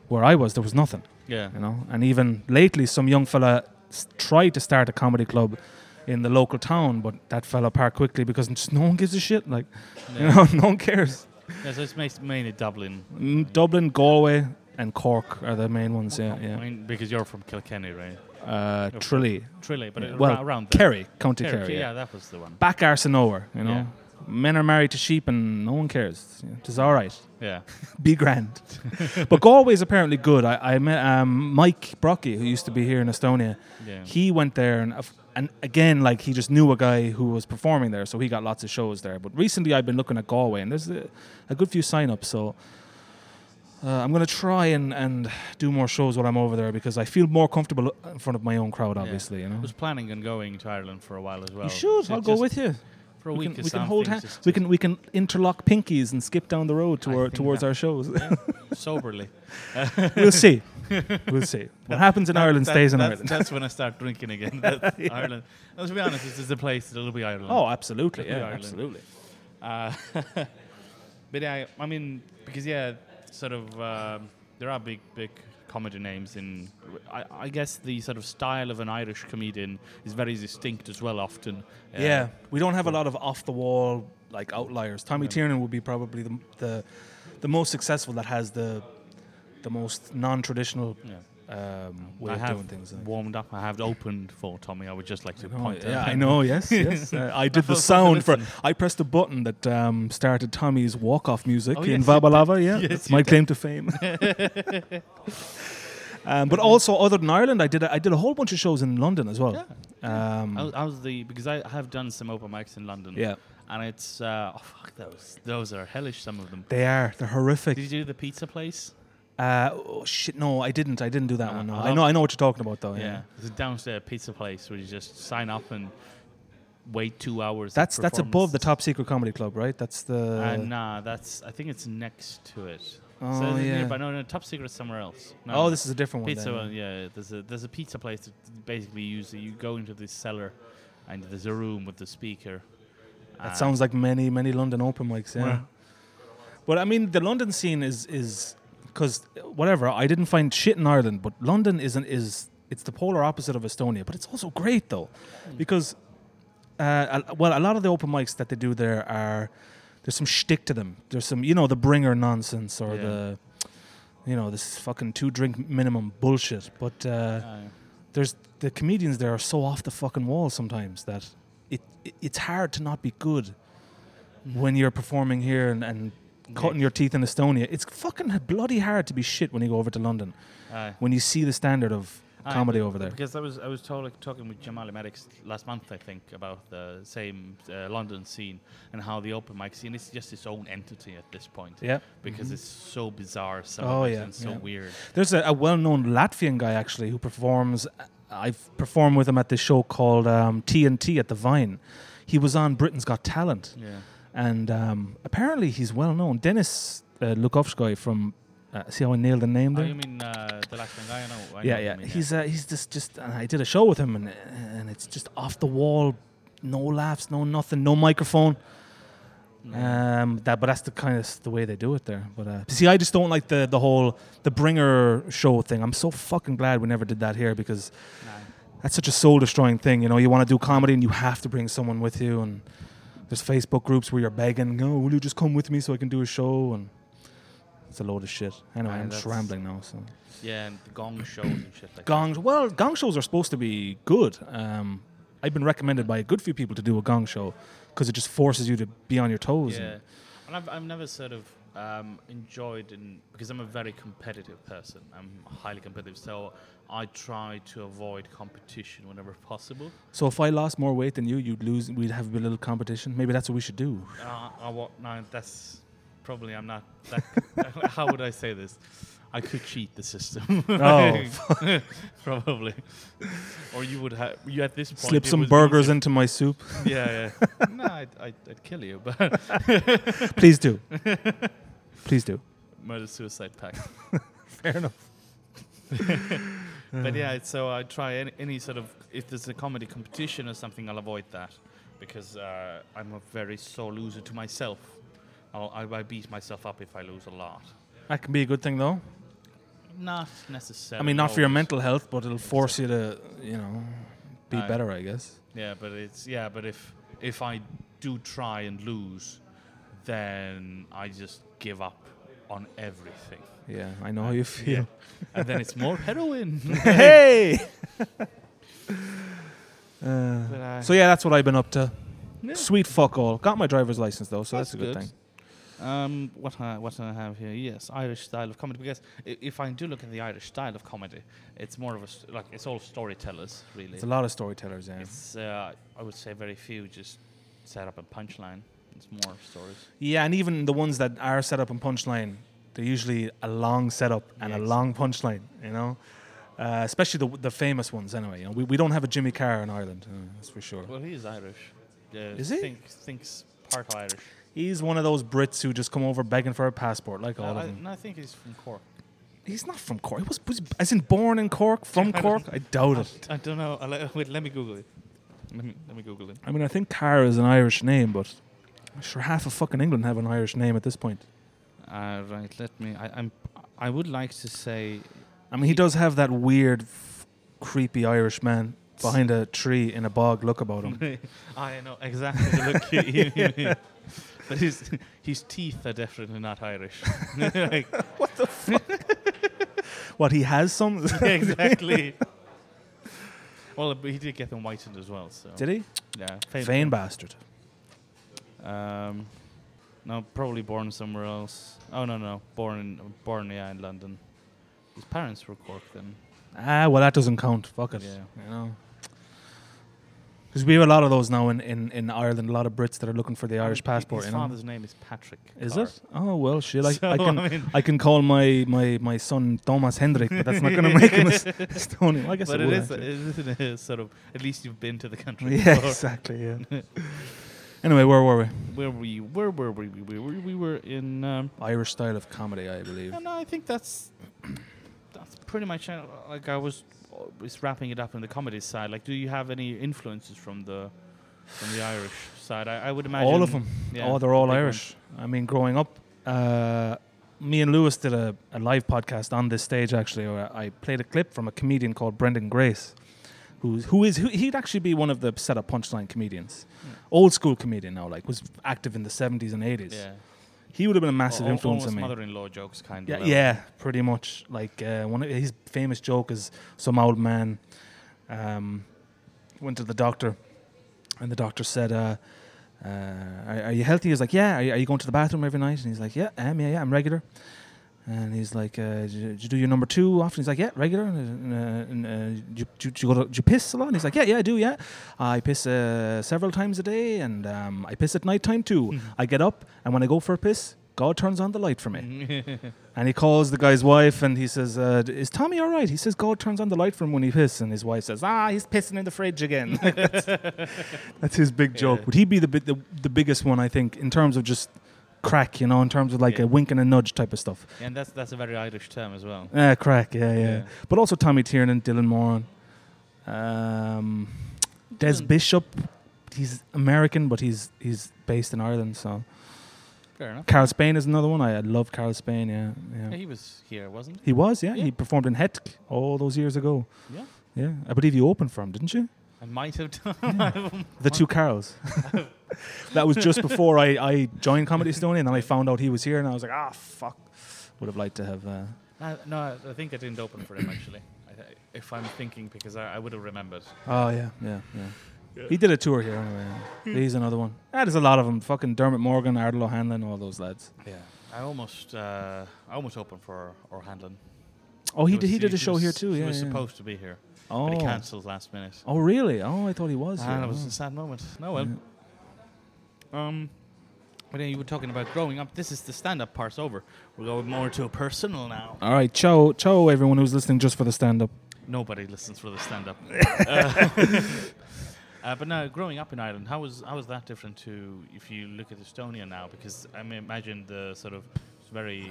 where I was, there was nothing, yeah, you know. And even lately, some young fella s- tried to start a comedy club in the local town, but that fell apart quickly because just no one gives a shit. Like, you Yeah. know, no one cares. Yeah, so it's mas- mainly Dublin. Mm, Dublin, Galway, and Cork are the main ones. Yeah, I yeah. mean, because you're from Kilkenny, right? Uh, Tralee. Tralee, but ar- well, around there. Kerry, County Kerry, Kerry. yeah. yeah. that was the one. Back arse and nowhere, you know. Yeah. Men are married to sheep and no one cares. It's just all right. Yeah, Be grand. but Galway's apparently good. I, I met um, Mike Brocky, who used to be here in Estonia. yeah. He went there and, af- and again, like he just knew a guy who was performing there, so he got lots of shows there. But recently I've been looking at Galway and there's a, a good few sign ups, so. Uh, I'm going to try and, and do more shows while I'm over there because I feel more comfortable uh, in front of my own crowd, obviously. You know? I was planning on going to Ireland for a while as well. You should. So I'll go just with you. For a We week can, or we can something, hold hands. just We to- can we can interlock pinkies and skip down the road I to our, think towards that- our shows. soberly. we'll see. We'll see. What happens in Ireland That- stays in that's, Ireland. That's when I start drinking again. That's Ireland. Let's be honest, this is the place that'll be Ireland. oh, absolutely. Definitely Yeah, Ireland. absolutely. Uh, but yeah, I mean, because yeah, sort of, um there are big, big comedy names in. I, I guess the sort of style of an Irish comedian is very distinct as well. Often, Uh, Yeah. we don't have a lot of off the wall like outliers. Tommy Tiernan would be probably the, the the most successful that has the the most non traditional yeah. um, way I of have doing things. like- warmed up. I have opened for Tommy. I would just like to Oh, point. yeah, out. I know. Yes, yes. Uh, I did the thought sound for. something I pressed the button that um, started Tommy's walk-off music Oh, in yes, you did. Vabalava. Yeah, Yes, that's you my claim to fame. um, but also, other than Ireland, I did. A, I did a whole bunch of shows in London as well. Yeah. Um, I was, I was the because I have done some open mics in London. yeah. and it's uh, oh fuck those those are hellish. Some of them. They are. They're Did you horrific. do the pizza place? Uh, oh shit! No, I didn't. I didn't do that Ah, one. No. I I love- know. I know what you're talking about, though. Yeah. Yeah, it's a downstairs pizza place where you just sign up and wait two hours. of That's that's above the performances. top secret comedy club, right? That's the. Uh, nah, that's I think it's next to it. Oh, so it's yeah. nearby- no, no, top secret somewhere else. No, Oh, this is a different one. pizza. then. one, yeah, there's a there's a pizza place that basically use you go into this cellar, and there's a room with the speaker. That and- sounds like many, many London open mics, yeah. Yeah. But I mean, the London scene is is because whatever. I didn't find shit in Ireland, but London isn't is it's the polar opposite of Estonia, but it's also great though, because uh, a- well, a lot of the open mics that they do there are there's some shtick to them. There's some you know the bringer nonsense or Yeah. the you know this fucking two drink minimum bullshit, but. Uh, Uh, there's the comedians there are so off the fucking wall sometimes that it, it it's hard to not be good when you're performing here and, and cutting your teeth in Estonia. It's fucking bloody hard to be shit when you go over to London aye. when you see the standard of Aye, comedy but- over there. Because I was I was told, like, talking with Jamal Maddox last month, I think, about the same uh, London scene and how the open mic scene is just its own entity at this point. Yeah. Mm-hmm. Because it's so bizarre, some Oh, of it, yeah, and so yeah. weird. There's a, a well-known Latvian guy actually who performs. I've performed with him at this show called um, TNT at the Vine. He was on Britain's Got Talent. Yeah. and um, apparently he's well known. Dennis uh, Lukovskoy from uh, see how I nailed the name Oh, there. you mean uh, the Latvian guy? I know. I know yeah, what you yeah. mean, He's uh, he's just just and I did a show with him and and it's just off the wall, no laughs, no nothing, no microphone. Um, that but that's the kind of s- the way they do it there. But uh, see, I just don't like the the whole the bringer show thing. I'm so fucking glad we never did that here because Nah. that's such a soul destroying thing. You know, you want to do comedy and you have to bring someone with you. And there's Facebook groups where you're begging, "No, will you just come with me so I can do a show?" And it's a load of shit. Anyway, Aye, I'm just that's- rambling now. So Yeah, and the gong shows and shit like gong. Well, gong shows are supposed to be good. Um, I've been recommended by a good few people to do a gong show because it just forces you to be on your that. toes. Yeah. and- And I've, I've never sort of um, enjoyed, in, because I'm a very competitive person. I'm highly competitive. So I try to avoid competition whenever possible. So if I lost more weight than you, you'd lose. We'd have a little competition. Maybe that's what we should do. Uh, I wa- no, that's probably I'm not. That, how would I say this? I could cheat the system. Oh, probably. Or you would have you at this point Slip it some was burgers into my soup. easy- Yeah, yeah. no, I'd, I'd, I'd kill you, but Please do. Please do. murder suicide pact. Fair enough. but yeah, it's- so I try any, any sort of if there's a comedy competition or something, I'll avoid that because uh, I'm a very sore loser to myself. I'll, I, I beat myself up if I lose a lot. That can be a good thing, though. Not necessarily. I mean, not for your always. mental health, but it'll force you to, you know, be Aye. better, I guess. Yeah, but it's yeah, but if if I do try and lose, then I just give up on everything. Yeah, I know how you feel. and then it's more heroin. hey! Uh, so, yeah, that's what I've been up to. Yeah. Sweet fuck all. Got my driver's license, though, so that's, That's a good, good. thing. Um, what I what I have here, yes, Irish style of comedy. Because i- if I do look at the Irish style of comedy, it's more of a s- like it's all storytellers really. It's a lot of storytellers, yeah. It's, uh, I would say very few just set up a punchline. It's more stories. Yeah, and even the ones that are set up in punchline, they're usually a long setup and a Yes. long punchline, you know? Uh, especially the, the famous ones, anyway. You know, we, we don't have a Jimmy Carr in Ireland, uh, that's for sure. Well, he is Irish. Yeah, Is he? Think, thinks part Irish. He's one of those Brits who just come over begging for a passport, like all No, of I, them. no, I think he's from Cork. He's not from Cork. He was, was as in born in Cork, from Cork. I doubt it. I don't know. I'll let- wait, let me Google it. Let me, let me Google it. I mean, I think Carr is an Irish name, but I'm sure half of fucking England have an Irish name at this point. Uh, right, let me. I, I'm. I would like to say. I mean, he does have that weird, f- creepy Irish man behind a tree in a bog look about him. I know exactly the look you, you mean. But his his teeth are definitely not Irish. Like, what he has some? yeah, exactly. Well, but he did get them whitened as well. So Did he? yeah, Vain, fame- bastard. Um, no, probably born somewhere else. Oh no, no, born in born yeah in London. His parents were Cork then. Ah, well, that doesn't count. Fuck it. Yeah. You know. Because we have a lot of those now in, in, in Ireland, a lot of Brits that are looking for the Irish passport. His you know? father's name is Patrick. Is Carr. it? Oh well, shit. I, So, I can I mean- I can call my, my, my son Thomas Hendrik, but that's not going to make him a s- Estonian. I guess but it, it would, is, it actually. is it is sort of at least you've been to the country. Yeah, before. exactly. Yeah. anyway, where were we? Where were you? Where were we? We were we, were in. Um, Irish style of comedy, I believe. and I think that's that's pretty much uh, like I was uh, was wrapping it up in the comedy side. Like, do you have any influences from the from the Irish side? I, I would imagine all of them. yeah, oh, they're all the big Irish. I mean, growing up, uh, me and Lewis did a, a live podcast on this stage actually. Where I played a clip from a comedian called Brendan Grace, who's who is who, he'd actually be one of the setup punchline comedians, Yeah. old school comedian now, like was active in the seventies and eighties. Yeah, He would have been a massive Al- al- influence on almost me. mother-in-law jokes kind Yeah, of. yeah, pretty much. Like uh, one of his famous joke is some old man um, went to the doctor, and the doctor said, uh, uh, are, "Are you healthy?" He's like, "Yeah." Are you, are you going to the bathroom every night? And he's like, "Yeah, I am, yeah, yeah, I'm regular." And he's like, uh, "Did you- did you do your number two often?" He's like, "Yeah, regular." And, uh, and, uh, and, uh, do, you- do, do you go to, do you piss a lot? And he's like, "Yeah, yeah, I do. Yeah, I piss uh, several times a day, and um, I piss at night time too. I get up, and when I go for a piss, God turns on the light for me." And he calls the guy's wife and he says, uh, d- Is Tommy all right? He says, God turns on the light for him when he pisses. And his wife says, Ah, he's pissing in the fridge again. that's, that's his big joke. Yeah. Would he be the, bi- the the biggest one, I think, in terms of just crack, you know, in terms of like Yeah. a wink and a nudge type of stuff? and that's that's a very Irish term as well. Ah, crack, yeah, yeah, Yeah. But also Tommy Tiernan, Dylan Moran, um, Des Dylan- Bishop. He's American, but he's he's based in Ireland. So Fair enough. Carl Spain is another one. I, I love Carl Spain, yeah. yeah. Yeah, he was here, wasn't He was, yeah. Yeah. He performed in Hetk all those years ago. he? Yeah. Yeah, I believe you opened for him, didn't you? I might have done. The Two Carols. that was just before I, I joined Comedy Estonia, and then I found out he was here, and I was like, ah, fuck. Would have liked to have. Uh, no, no, I- I think I didn't open for him actually. I, I- if I'm thinking, because I, I would have remembered. oh yeah, yeah, yeah, He did a tour here anyway. Hmm. yeah. He's another one. Ah, there's a lot of them. Fucking Dermot Morgan, Ardal O'Hanlon, all those lads. Yeah, I almost, uh, I almost opened for Orhandlin. Oh, he, did. He did a show here too. He Yeah, was yeah. supposed to be here, Oh. but he cancelled last minute. Oh really? Oh, I thought he was. and here. it was Oh. a sad moment. No well. Um, but then you were talking about growing up. This is the stand-up part's over. We're going more to a personal now. All right, ciao, ciao, everyone who's listening just for the stand up. Nobody listens for the stand-up. Uh, uh, but now, growing up in Ireland, how was how was that different to if you look at Estonia now? Because I mean, imagine the sort of it's very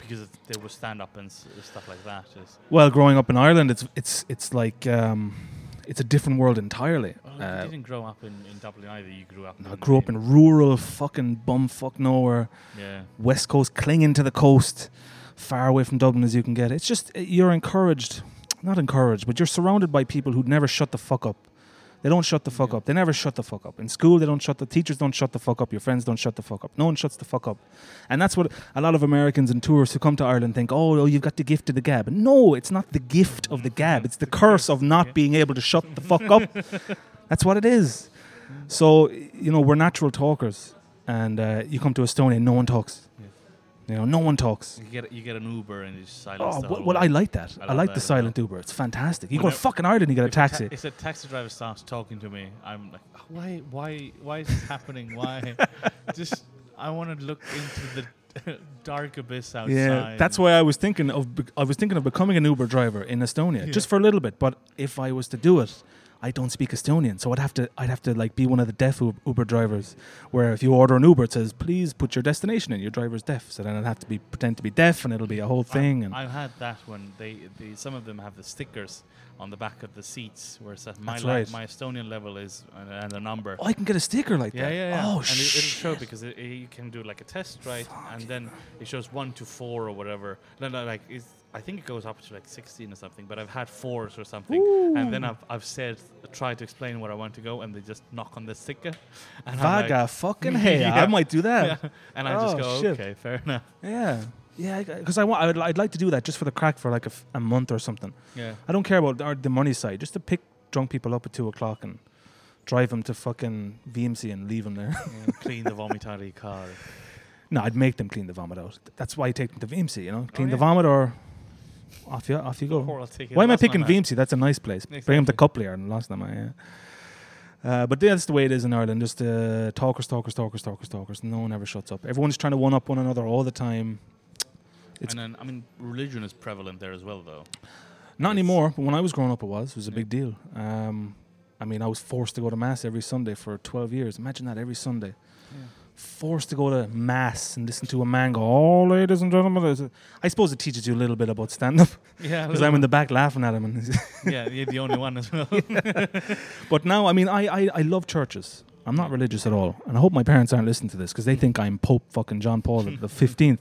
because there was stand-up and s- stuff like that. Is Well, growing up in Ireland, it's it's it's like um, it's a different world entirely. well, Uh, you Oh, didn't grow up in, in Dublin either. You grew up. I grew up in rural fucking bumfuck nowhere, yeah. west coast, clinging to the coast, far away from Dublin as you can get. It's just uh, you're encouraged, not encouraged, but you're surrounded by people who'd never shut the fuck up. They don't shut the fuck up. They never shut the fuck up. In school, they don't shut the teachers don't shut the fuck up. Your friends don't shut the fuck up. No one shuts the fuck up, and that's what a lot of Americans and tourists who come to Ireland think. Oh, oh, you've got the gift of the gab. No, it's not the gift of the gab. It's the curse of not being able to shut the fuck up. That's what it is. So y- you know we're natural talkers, and uh, you come to Estonia, no one talks. Yeah. You know, no one talks. You get you get an Uber and you just silence. Oh, the well, whole well, I way. like that. I I, love like that the as well. silent Uber. It's fantastic. You When go I- to fucking Ireland and you get a If ta- taxi. if a taxi driver starts talking to me, I'm like, "Oh, why, why, why is this happening? Why? Just, I want to look into the dark abyss outside. Yeah, that's why I was thinking of. bec- I was thinking of becoming an Uber driver in Estonia just for a little bit. But if I was to do it, I don't speak Estonian, so I'd have to. I'd have to like be one of the deaf Ub- Uber drivers, where if you order an Uber, it says please put your destination in. Your driver's deaf, so then I'd have to be pretend to be deaf, and it'll be a whole thing. and I, have had that when they, the some of them have the stickers on the back of the seats where it says my That's le- right. my Estonian level is and, and a number. oh, I can get a sticker like Yeah, that. yeah, yeah. Oh and it, shit. it'll show because it, it- you can do like a test, right? and then it shows one to four or whatever. No, no, like it's, I think it goes up to like sixteen or something. But I've had fours or something, and then I've I've said try to explain where I want to go, and they just knock on the sticker, and I'm Vaga like, fucking hey, Yeah. I might do that. yeah. and I just Oh, go shit. okay, fair enough. Yeah, yeah, because I want. I'd, I'd like to do that just for the crack for like a, f- a month or something. Yeah, I don't care about the- the money side, just to pick drunk people up at two o'clock and drive them to fucking VMC and leave them there. clean the vomitary car. no, I'd make them clean the vomit out. That's why I take them to VMC. You know, clean the Oh, yeah. vomit or off you off you go. Or I'll take it Why am I last night, picking man. VMC? That's a nice place. Bring them to Exactly. Coplier and last time, yeah. Uh, but that's the way it is in Ireland. Just uh, talkers, talkers, talkers, talkers, talkers. No one ever shuts up. Everyone's trying to one up one another all the time. It's- And then I mean, religion is prevalent there as well, though. Not It's- anymore, but when I was growing up, it was. It was a Yeah. big deal. Um, I mean, I was forced to go to mass every Sunday for 12 years. Imagine that every Sunday. Yeah. Forced to go to mass and listen to a man go, oh, ladies and gentlemen. there's a-" I suppose it teaches you a little bit about stand up Yeah, because I'm in the back laughing at him. And yeah, you're the only one as well. But now, I mean, I, I, I love churches. I'm not religious at all. And I hope my parents aren't listening to this because they think I'm Pope fucking John Paul the 15th.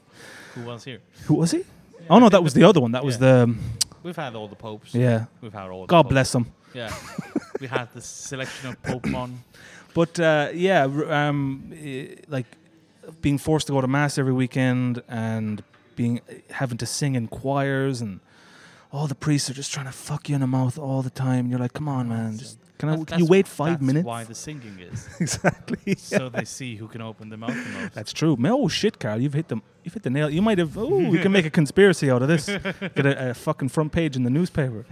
Who was here? Who was he? Oh, no, that was the other one. That was the, um, We've had all the popes. yeah. We've had all. The God popes. bless him. Yeah. we had the selection of Pokemon. But uh, yeah, r- um, i- like being forced to go to mass every weekend and being having to sing in choirs and all the priests are just trying to fuck you in the mouth all the time. And you're like, come on, man, just can I? Can you wait five that's minutes? why the singing is. exactly. So they see who can open the mouth the most. That's true. Ma- Oh shit, Carl, you've hit the you've hit the nail. You might have. Oh, we can make a conspiracy out of this. Get a, a fucking front page in the newspaper.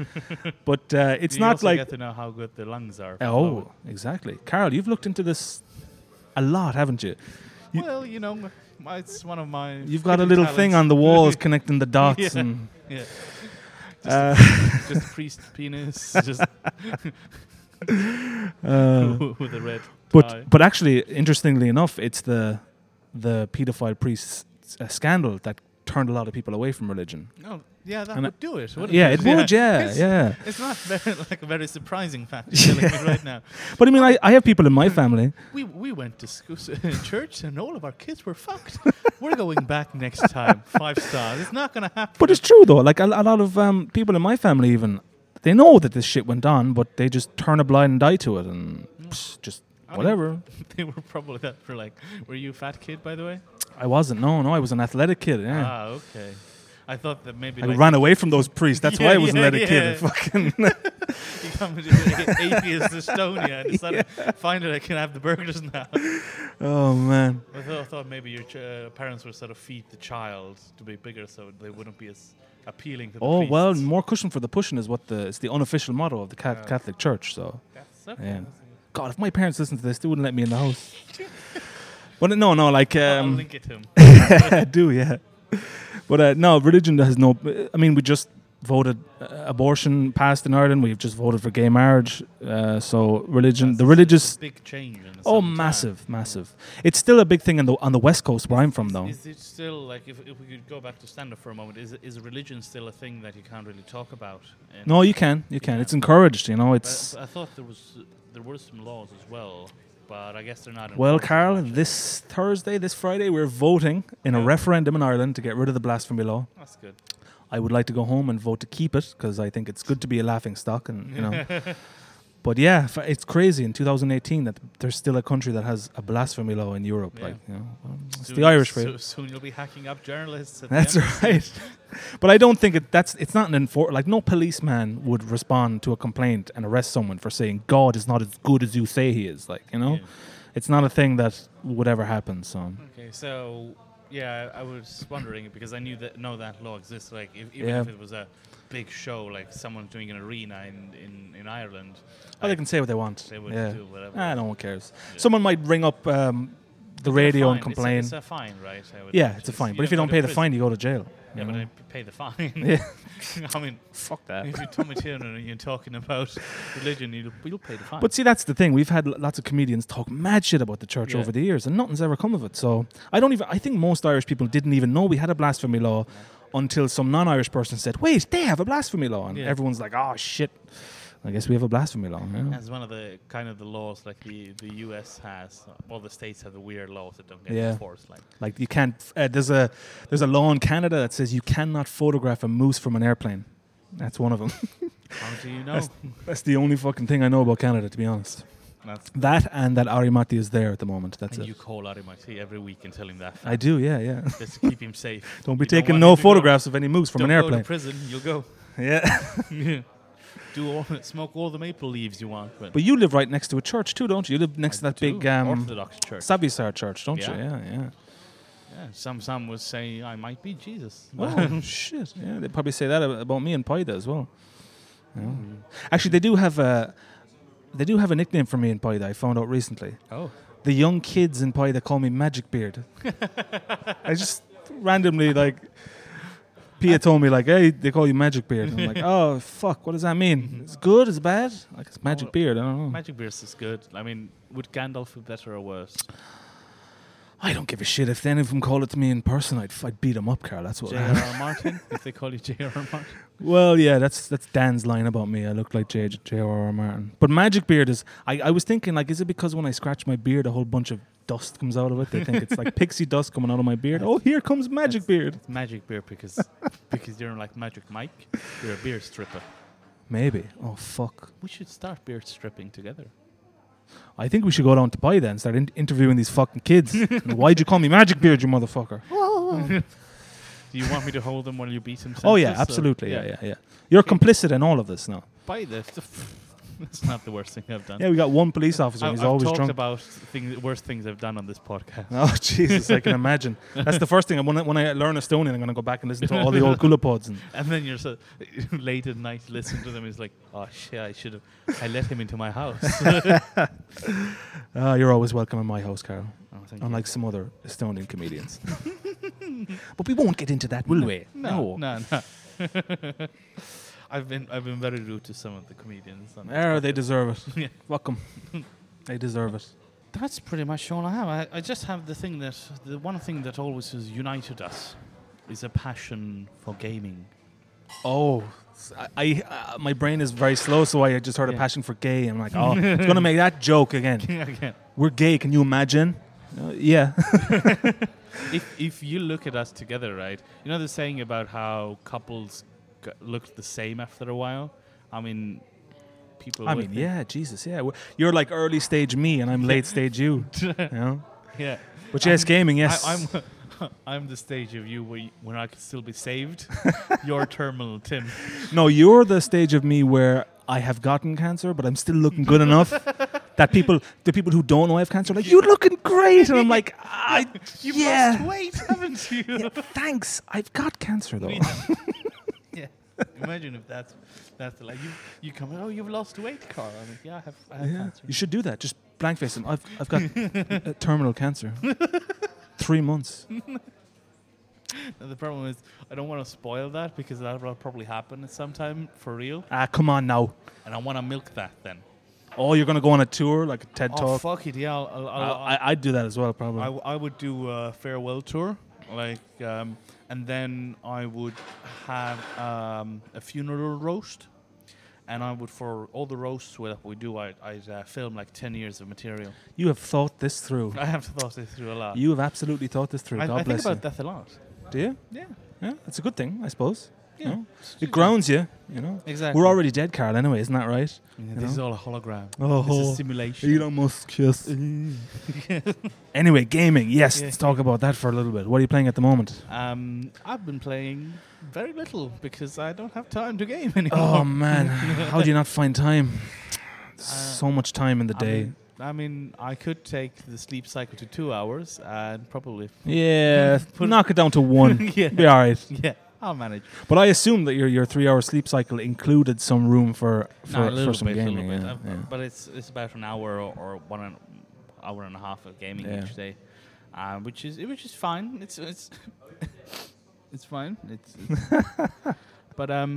But uh, it's you not also like get to know how good the lungs are. for oh, blowing. exactly, Carl. You've looked into this a lot, haven't you? you- well, you know, m- my, it's one of my. You've got a hidden little thing talents. on the walls connecting the dots. Yeah. And Yeah. Just, uh, a, just a priest penis. Just uh, with a red. tie. but but actually, interestingly enough, it's the the pedophile priest uh, scandal that turned a lot of people away from religion. no, Oh, yeah, that and I- would do it. wouldn't yeah, it would. Yeah, It's, yeah. it's not very, like a very surprising fact you're telling me right now. But I mean, I, I have people in my family. We, we went to school, church and all of our kids were fucked. We're going back next time. Five stars. It's not going to happen. But it's true though. Like a, a lot of um, people in my family, even they know that this shit went on, but they just turn a blind eye to it and psh, just Mm. I mean- whatever. they were probably that for like, were you a fat kid by the way? I wasn't. No, no, I was an athletic kid. Yeah. Ah, okay. I thought that maybe I like ran away from those priests. That's why Yeah, I was an yeah, athletic yeah. kid. Fucking you come to atheist Estonia and decided finally I can have the burgers now. oh man. I thought, I thought maybe your ch- uh, parents were sort of feed the child to be bigger so they wouldn't be as appealing to the Oh well, priests. more cushion for the pushing is what the it's the unofficial motto of the Ca- Catholic Church. So That's okay. yeah. that's- God, if my parents listened to this, they wouldn't let me in the house. but no, no, like I'll um, link it to him. I do, yeah. But uh, no, religion has no. I mean, we just voted uh, abortion passed in Ireland. We've just voted for gay marriage. Uh, so religion, That's the religious. big change. In a Oh, certain time. massive, massive. It's still a big thing on the on the west coast where I'm from, though. Is it still like if, if we could go back to stand up for a moment? Is is religion still a thing that you can't really talk about? in- No, you can, you can. It's encouraged, you know. It's But I thought there was there were some laws as well, but I guess they're not. Well, enforced Carl, as much. this Thursday, this Friday, we're voting in a Yeah. referendum in Ireland to get rid of the blasphemy law. that's good. I would like to go home and vote to keep it because I think it's good to be a laughing stock, and you know. but yeah, f- it's crazy in 2018 that there's still a country that has a blasphemy law in Europe. Yeah. Like, you know, well, it's Soon- the Irish for you. So, soon you'll be hacking up journalists. At That's the end. right. But I don't think it, that's it's not an enfor like no policeman would respond to a complaint and arrest someone for saying God is not as good as you say he is. Like, you know, Yeah. it's not a thing that would ever happen. So. Okay, so yeah, I I was wondering because I knew that no that law exists. Like if, even Yeah. if it was a big show, like someone doing an arena in in, in Ireland, Oh, they like, can say what they want. they would yeah. do whatever. Ah, no one cares. Yeah. Someone might ring up um, the It's a radio fine, and complain. It's a, it's a fine, right? I would yeah, imagine. it's a fine. You But if you go don't to pay the prison. fine, you go to jail. yeah, you but I know? p- pay the fine. I mean, fuck that. if you're Tommy Tiernan and you're talking about religion, you'll, you'll pay the fine. But see, that's the thing. We've had l- lots of comedians talk mad shit about the church Yeah. over the years, and nothing's ever come of it. So I don't even. I think most Irish people didn't even know we had a blasphemy law until some non-Irish person said, "Wait, they have a blasphemy law," and Yeah. everyone's like, "Oh shit." I guess we have a blasphemy law. yeah. That's one of the kind of the laws like the, the U.S. has. All the states have the weird laws that don't get Yeah. enforced. Like Like you can't. Uh, there's a there's a law in Canada that says you cannot photograph a moose from an airplane. That's one of them. how do you know? That's- That's the only fucking thing I know about Canada, to be honest. That's- That and that Arimati is there at the moment. That's and it. you call RMIT every week and tell him that. I do, yeah, yeah. Just to keep him safe. Don't be You taking want no him to go- photographs of any moose from don't an Go airplane. to prison, you'll go. yeah. Do all, smoke all the maple leaves you want. But, But you live right next to a church too, don't you? You live next I to that do. big um, Orthodox church. Savisaar church, don't you? Yeah. Yeah, yeah, some some would say I might be Jesus. yeah. Oh shit! Yeah, they probably say that ab- about me and Paida as well. Yeah. Actually, they do have a they do have a nickname for me in Paida. I found out recently. oh. the young kids in Pi that call me Magic Beard. I just randomly like Pia told me like, hey, they call you Magic Beard. I'm like, oh fuck, what does that mean? It's good, it's bad. Like it's Magic Oh, Beard. I don't know. Magic Beers is good. I mean, would Gandalf be better or worse? I don't give a shit if any of them call it to me in person. I'd, f- I'd beat them up, Carl. That's what. J.R.R. Martin, if they call you J.R.R. Martin. well, yeah, that's that's Dan's line about me. I look like J J R R Martin. But Magic Beard is. I, I was thinking like, is it because when I scratch my beard, a whole bunch of dust comes out of it? They think it's like pixie dust coming out of my beard. Oh, here comes Magic Beard. It's Magic Beer because because you're like Magic Mike. You're a beer stripper. Maybe. Oh fuck. We should start beer stripping together. I think we should go down to Pi then and start in- interviewing these fucking kids. Why'd you call me Magic Beard, you motherfucker? Do you want me to hold them while you beat them? Oh yeah, senseless, or- absolutely. Yeah, yeah, yeah. You're complicit in all of this now. By the that's not the worst thing I've done. Yeah, we got one police officer. I, and he's have always talked drunk. about things, worst things I've done on this podcast. Oh Jesus, I can imagine. That's the first thing. When I, when I learn Estonian, I'm gonna go back and listen to all the old Gulapods. And And then you're so late at night listening to them. It's like, oh shit, I should have. I let him into my house. uh, you're always welcome in my house, Carl. Oh, thank you. Unlike some other Estonian comedians. but we won't get into that, will we? No, no, no. I've been I've been very rude to some of the comedians. on this Oh, they podcast. deserve it. Yeah. Welcome. They deserve it. That's pretty much all I have. I, I just have the thing that the one thing that always has united us is a passion for gaming. Oh, s- I, I- uh, my brain is very slow, so I just heard a Yeah. passion for gay. I'm like, oh, it's gonna make that joke again. Again, We're gay. Can you imagine? Uh, yeah. if if you look at us together, right? You know the saying about how couples g- look the same after a while. I mean, people. I would mean, think- yeah, Jesus, yeah. Well, You're like early stage me, and I'm late stage you. you know? yeah. But yes, gaming, yes. I, I'm, I'm the stage of you where you, when I could still be saved. Your terminal, Tim. no, you're the stage of me where I have gotten cancer, but I'm still looking good enough that people, the people who don't know I have cancer, are like you're looking great, and I'm like, I, You've lost yeah, weight, haven't you? thanks. I've got cancer though. Yeah. Imagine if that's that's the like you you come oh you've lost weight, Carl. I'm like, yeah, I have, I have Yeah, cancer. you should do that. Just blank face them. I've, I've got uh, terminal cancer. Three months. And the problem is I don't want to spoil that because that will probably happen at some time for real, Ah, come on now. and I want to milk that then. Oh, you're gonna go on a tour like a TED Oh talk. fuck it, yeah. I'll, I'll, I, I'll, I, I'd do that as well, probably. I, w- I would do a farewell tour, like, um, and then I would have um, a funeral roast, and I would for all the roasts that we do, I, I'd uh, film like ten years of material. you have thought this through. I have thought this through a lot. You have absolutely thought this through. I, God I think bless about death a lot. you. Do you? Yeah, Yeah, it's a good thing, I suppose. you Yeah. know? It grounds you. You know, exactly. we're already dead, Carl. Anyway, isn't that right? Yeah, you this is know? all a hologram. This Oh, is simulation. Elon Musk. Yes. anyway, gaming. Yes, Yeah. let's talk about that for a little bit. What are you playing at the moment? Um, I've been playing very little because I don't have time to game anymore. Oh man, how do you not find time? so much time in the Uh, I day. mean- I mean, I could take the sleep cycle to two hours and probably yeah, Put- knock it down to one. yeah, Be all right. yeah, I'll manage. But I assume that your your three hour sleep cycle included some room for No, for, a little for some bit, little gaming. bit. yeah, Uh, yeah. But it's it's about an hour or, or one and, hour and a half of gaming Yeah. each day, uh, which is which is fine. It's it's it's fine. It's, it's- but um,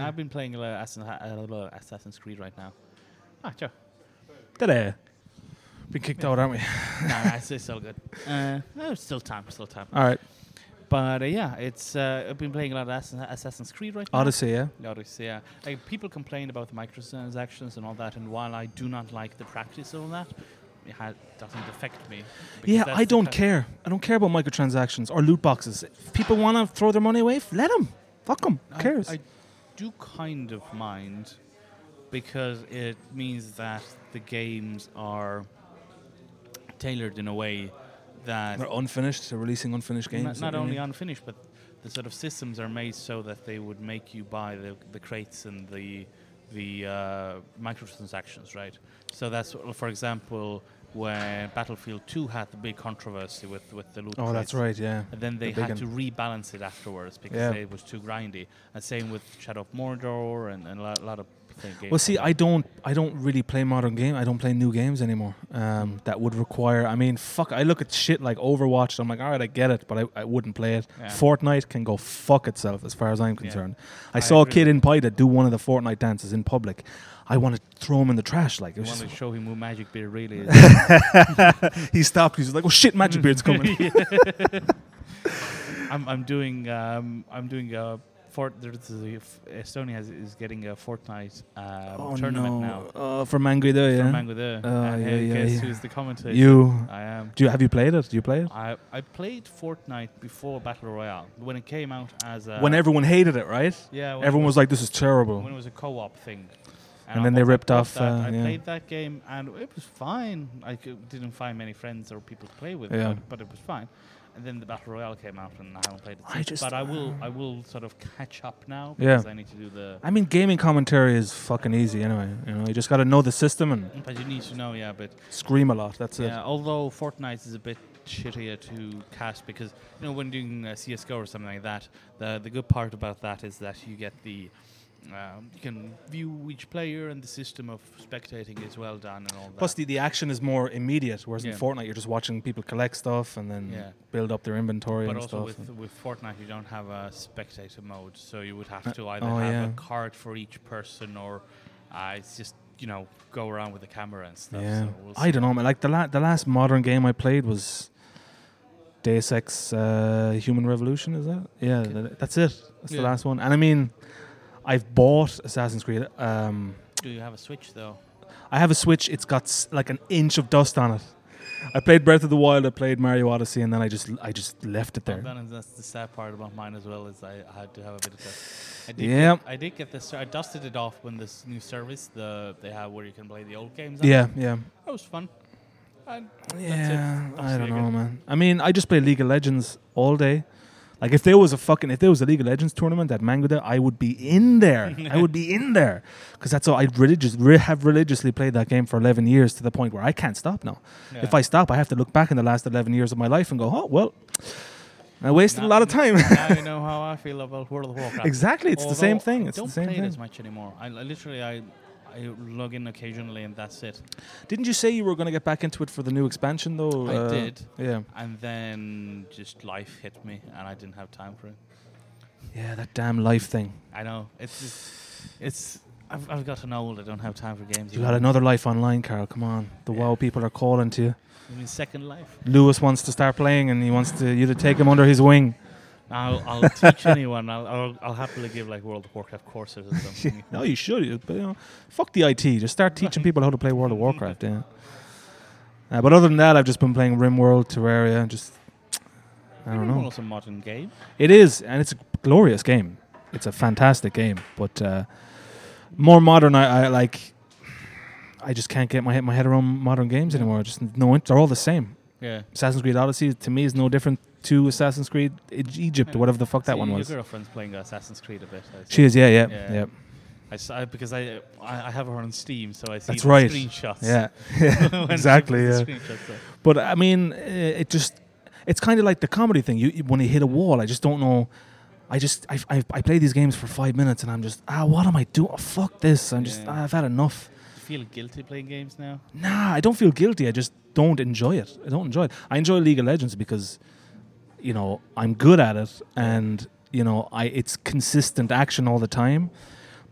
I've been playing a lot of Assassin- a lot of Assassin's Creed right now. Ah, sure. Ta-da. Been kicked out, aren't we? no, no, it's, it's all good. Uh, no, it's still time, still time. All right, But uh, yeah, it's uh, I've been playing a lot of Assassin- Assassin's Creed right now. Odyssey. Yeah. Odyssey, yeah. Like, people complain about the microtransactions and all that, and while I do not like the practice of all that, it ha- doesn't affect me. because Yeah, that's I the don't kind- care. I don't care about microtransactions or loot boxes. If people want to throw their money away, f- let them. Fuck them. Who I- cares? I, do kind of mind because it means that the games are tailored in a way that They're unfinished. They're releasing unfinished N- games. Not I mean. only unfinished, but the sort of systems are made so that they would make you buy the, the crates and the the uh, microtransactions, right? So that's what- for example when Battlefield 2 had the big controversy with with the loot. Oh, that's crates. right. Yeah. And then they big had un- to rebalance it afterwards because Yeah. it was too grindy. And same with Shadow of Mordor and, and a lot, lot of thing- games. Well, see, I don't, I don't really play modern game. I don't play new games anymore. Um, that would require. I mean, fuck. I look at shit like Overwatch. I'm like, all right, I get it, but I, I wouldn't play it. Yeah. Fortnite can go fuck itself, as far as I'm concerned. I, I saw a agree kid with in Pida do one of the Fortnite dances in public. I want to throw him in the trash. Like I it was want to just, show him who Magic Beer really is. he stopped. He was like, oh shit, Magic Beard's coming. I'm, I'm doing um, I'm doing a fort. There's a, Estonia has, is getting a Fortnite um, oh tournament no, now Uh, for Mangry though, yeah. from Manguda. Oh, and yeah, hey, yeah, guess yeah. who's the commentator? you I am. do you have you played it? Do you play it? I, I played Fortnite before Battle Royale when it came out as a when everyone hated it, right? yeah when Everyone it was like, this is terrible. when it was a co-op thing. And then I they bought- I ripped bought off, that. uh, I yeah. played that game and it was fine. I c- didn't find many friends or people to play with, Yeah. but, but it was fine. And then the battle royale came out, and I haven't played it I since. just- but I will, I will sort of catch up now Yeah. because I need to do the. I mean, gaming commentary is fucking easy anyway. You know, you just got to know the system and But you need to know, yeah. But scream a lot. That's yeah, although Fortnite is a bit shittier to cast because you know when doing uh, CS:GO or something like that, the the good part about that is that you get the. Um, you can view each player, and the system of spectating is well done, and all that. it. Plus, the, the action is more immediate, whereas Yeah. in Fortnite, you're just watching people collect stuff and then Yeah. build up their inventory But and also stuff. with, with Fortnite, you don't have a spectator mode, so you would have to either oh, have yeah. a card for each person, or uh, it's just you know go around with the camera and stuff. yeah, So we'll I don't know, man. Like the la- the last modern game I played was Deus Ex: uh, Human Revolution. Is that? Yeah, th- that's it. That's Yeah. the last one. And I mean, I've bought Assassin's Creed. Um, see. Do you have a Switch though? I have a Switch. It's got s- like an inch of dust on it. I played Breath of the Wild, I played Mario Odyssey, and then I just I just left it there. That is- that's the sad part about mine as well. Is I had to have a bit of that. I did Yeah. Get, I did get this. I dusted it off when this new service the they have where you can play the old games. on. Yeah, yeah. that was fun. And Yeah, That's I it don't again. know, man. I mean, I just play League of Legends all day. Like if there was a fucking if there was a League of Legends tournament at Mango Day, I would be in there. I would be in there because that's all I religious re- have religiously played that game for eleven years to the point where I can't stop now. If I stop, I have to look back in the last eleven years of my life and go, oh well, I wasted a lot of time. now you know how I feel about World of Warcraft. exactly, it's the same Although thing. I It's don't the same play thing. it as much anymore. I, I literally I I log in occasionally and that's it. Didn't you say you were going to get back into it for the new expansion though? I Uh, did. Yeah, And then just life hit me and I didn't have time for it. yeah, that damn life thing. I know it's just, it's I've, I've gotten old. I don't have time for games. You anymore. got another life online, Carl. Come on, the WoW people are calling to you. I mean, second life. Lewis wants to start playing and he wants to you to take him under his wing. I'll, I'll teach anyone. I'll, I'll, I'll happily give like World of Warcraft courses or something. No, you should. you- But, you know, fuck the IT. Just start teaching people how to play World of Warcraft. Yeah. Uh, but other than that, I've just been playing RimWorld, Terraria, and just I don't know. It's a modern game. It is, and it's a glorious game. It's a fantastic game, but uh, more modern. I, I like. I just can't get my head, my head around modern games anymore. Just no, int- they're all the same. Yeah. Assassin's Creed Odyssey to me is no different to Assassin's Creed E- Egypt or whatever the fuck that So one your was. girlfriend's playing Assassin's Creed a bit. I see. She is, yeah, yeah, Yeah. yeah. I saw, because I, I I have her on Steam, so I see That's the right. screenshots. Yeah, When she puts exactly, the yeah. screenshots up. but I mean, uh, it just—it's kind of like the comedy thing. You, you when you hit a wall, I just don't know. I just I, I, I play these games for five minutes and I'm just ah, what am I doing? Oh, fuck this! I'm just Yeah. ah, I've had enough. You feel guilty playing games now? Nah, I don't feel guilty. I just don't enjoy it. I don't enjoy it. I enjoy League of Legends because, you know, I'm good at it, and you know, I it's consistent action all the time.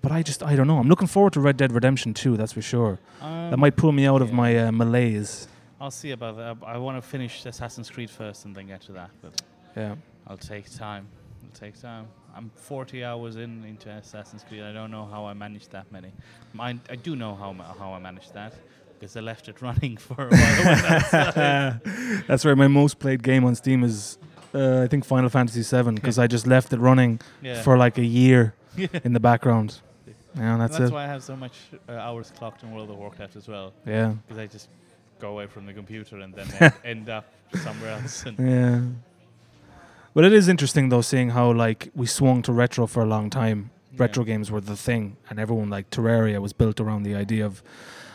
But I just I don't know. I'm looking forward to Red Dead Redemption 2, That's for sure. that Um, might pull me out of yeah. my uh, malaise. I'll see about that. I want to finish Assassin's Creed first and then get to that, but Yeah. I'll take time. I'll take time. I'm 40 hours in into Assassin's Creed. I don't know how I managed that many. Mine, I do know how ma- how I managed that because I left it running for a while. when I was- That's right. My most played game on Steam is, uh, I think, Final Fantasy VII because I just left it running yeah. for like a year in the background. Yeah, that's that's, it. why I have so much uh, hours clocked in World of Warcraft as well Yeah, because I just go away from the computer and then end, end up somewhere else. And yeah. But it is interesting though, seeing how like we swung to retro for a long time. Retro games were the thing, and everyone like Terraria was built around the idea of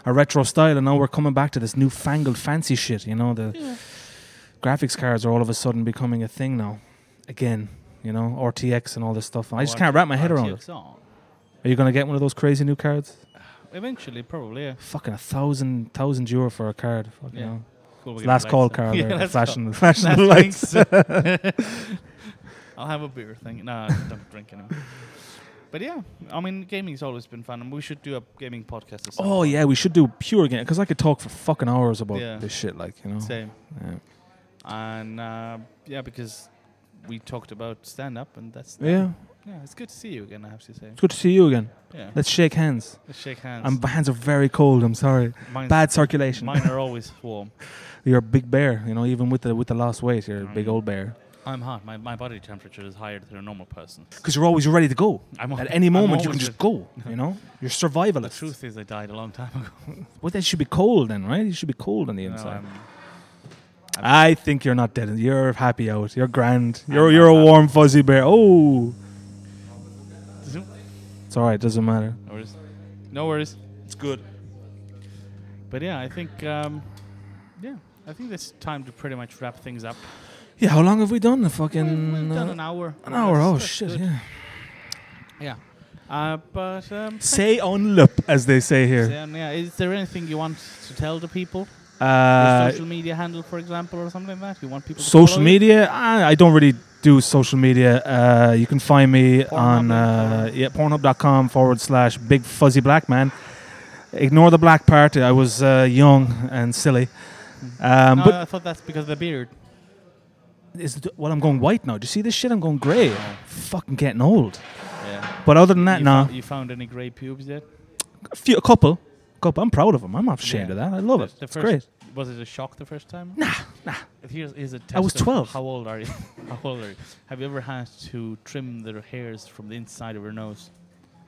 a retro style, and now we're coming back to this newfangled fancy shit. You know, the Yeah. graphics cards are all of a sudden becoming a thing now, again. You know, RTX and all this stuff. And I just Or can't wrap my head around it. RTX on. Are you gonna get one of those crazy new cards? Eventually, probably. Yeah. Fucking a thousand thousand euro for a card. Fucking Yeah. hell. Cool, we're It's getting last late, call so- card. Yeah, there, last flashing, call. the flashing the lights. Last drinks. I'll have a beer thing. No, I don't drink anymore. But yeah, I mean, gaming's always been fun, and we should do a gaming podcast. Or something. Oh yeah, we should do pure game because I could talk for fucking hours about Yeah. this shit. Like you know. same. Yeah. And uh, yeah, because we talked about stand up, and that's that. Yeah. Yeah, it's good to see you again. I have to say. It's good to see you again. Yeah, let's, Let's shake hands. shake hands. Um, my hands are very cold. I'm sorry. mine's, Bad circulation. mine are always warm. You're a big bear. You know, even with the with the lost weight, you're a big Mm. old bear. I'm hot. My, my body temperature is higher than a normal person. Because you're always ready to go. I'm At al- any I'm moment, you can always just go. You know, you're The survivalist. truth is, I died a long time ago. Well, that should be cold then, right? You should be cold on the No, inside. I'm- I think you're not dead. You're happy out. You're grand. You're I'm you're a not happy. warm fuzzy bear. Oh, it's all right. Doesn't matter. No worries. No worries. It's good. But yeah, I think um, yeah, I think it's time to pretty much wrap things up. Yeah. How long have we done? The fucking We've done uh, an hour. an hour. That's- Oh that's shit. good. Yeah. Yeah. Uh, but um, Say on lip, as they say here. um, yeah, is there anything you want to tell the people? Your Uh, social media handle, for example, or something like that. You want people to social follow media. I, I don't really do social media. Uh, you can find me on uh, Pornhub. yeah pornhub.com forward slash big fuzzy black man. Ignore the black part. I was uh, young and silly. You? Um, No, but Uh, I thought that's because of the beard. is well, I'm going white now. Do you see this shit? I'm going grey. Fucking getting old. Yeah. But other than that, you, nah. fo- you found any grey pubes yet? A, few, a couple, couple. I'm proud of them. I'm not ashamed Yeah. of that. I love it. The It's first- great. was it a shock the first time? Nah, nah. Here's, here's a test was of 12. How old are you? how old are you? Have you ever had to trim their hairs from the inside of your nose?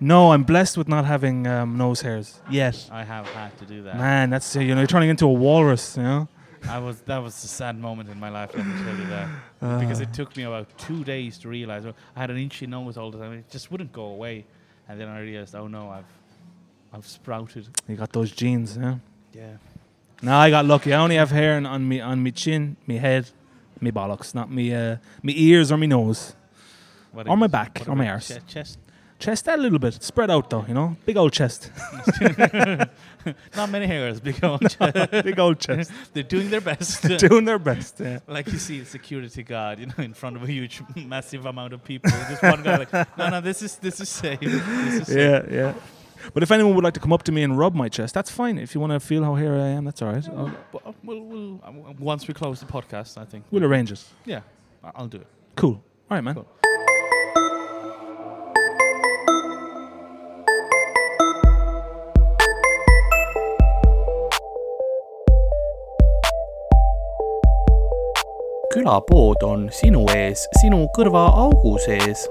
No, I'm blessed with not having um, nose hairs yet. I have had to do that. Man, that's you know you're turning into a walrus. You know. I was that was a sad moment in my life. Let me tell you that because it took me about two days to realize well, I had an inchy nose all the time. It just wouldn't go away, and then I realized, oh no, I've I've sprouted. You got those genes. Yeah. Yeah. No, I got lucky. I only have hair on, on me on me chin, me head, me bollocks, not me uh, me ears or me nose. What On my is- back, what on my about arse. che- chest. Chest that a little bit, spread out though. You know, big old chest, Not many hairs because big old chest. they're doing their best. Doing their best. Yeah. like you see a security guard, you know, in front of a huge, massive amount of people. Just one guy like, no, no, this is this is safe. This is safe. Yeah, yeah. But if anyone would like to come up to me and rub my chest, that's fine. If you want to feel how hairy I am, that's all right. I'll- But, uh, We'll, we'll, uh, w- once we close the podcast, I think. we'll arrange it. Yeah, I- I'll do it. Cool. All right, man. Cool. külapood on sinu ees , sinu kõrva augu sees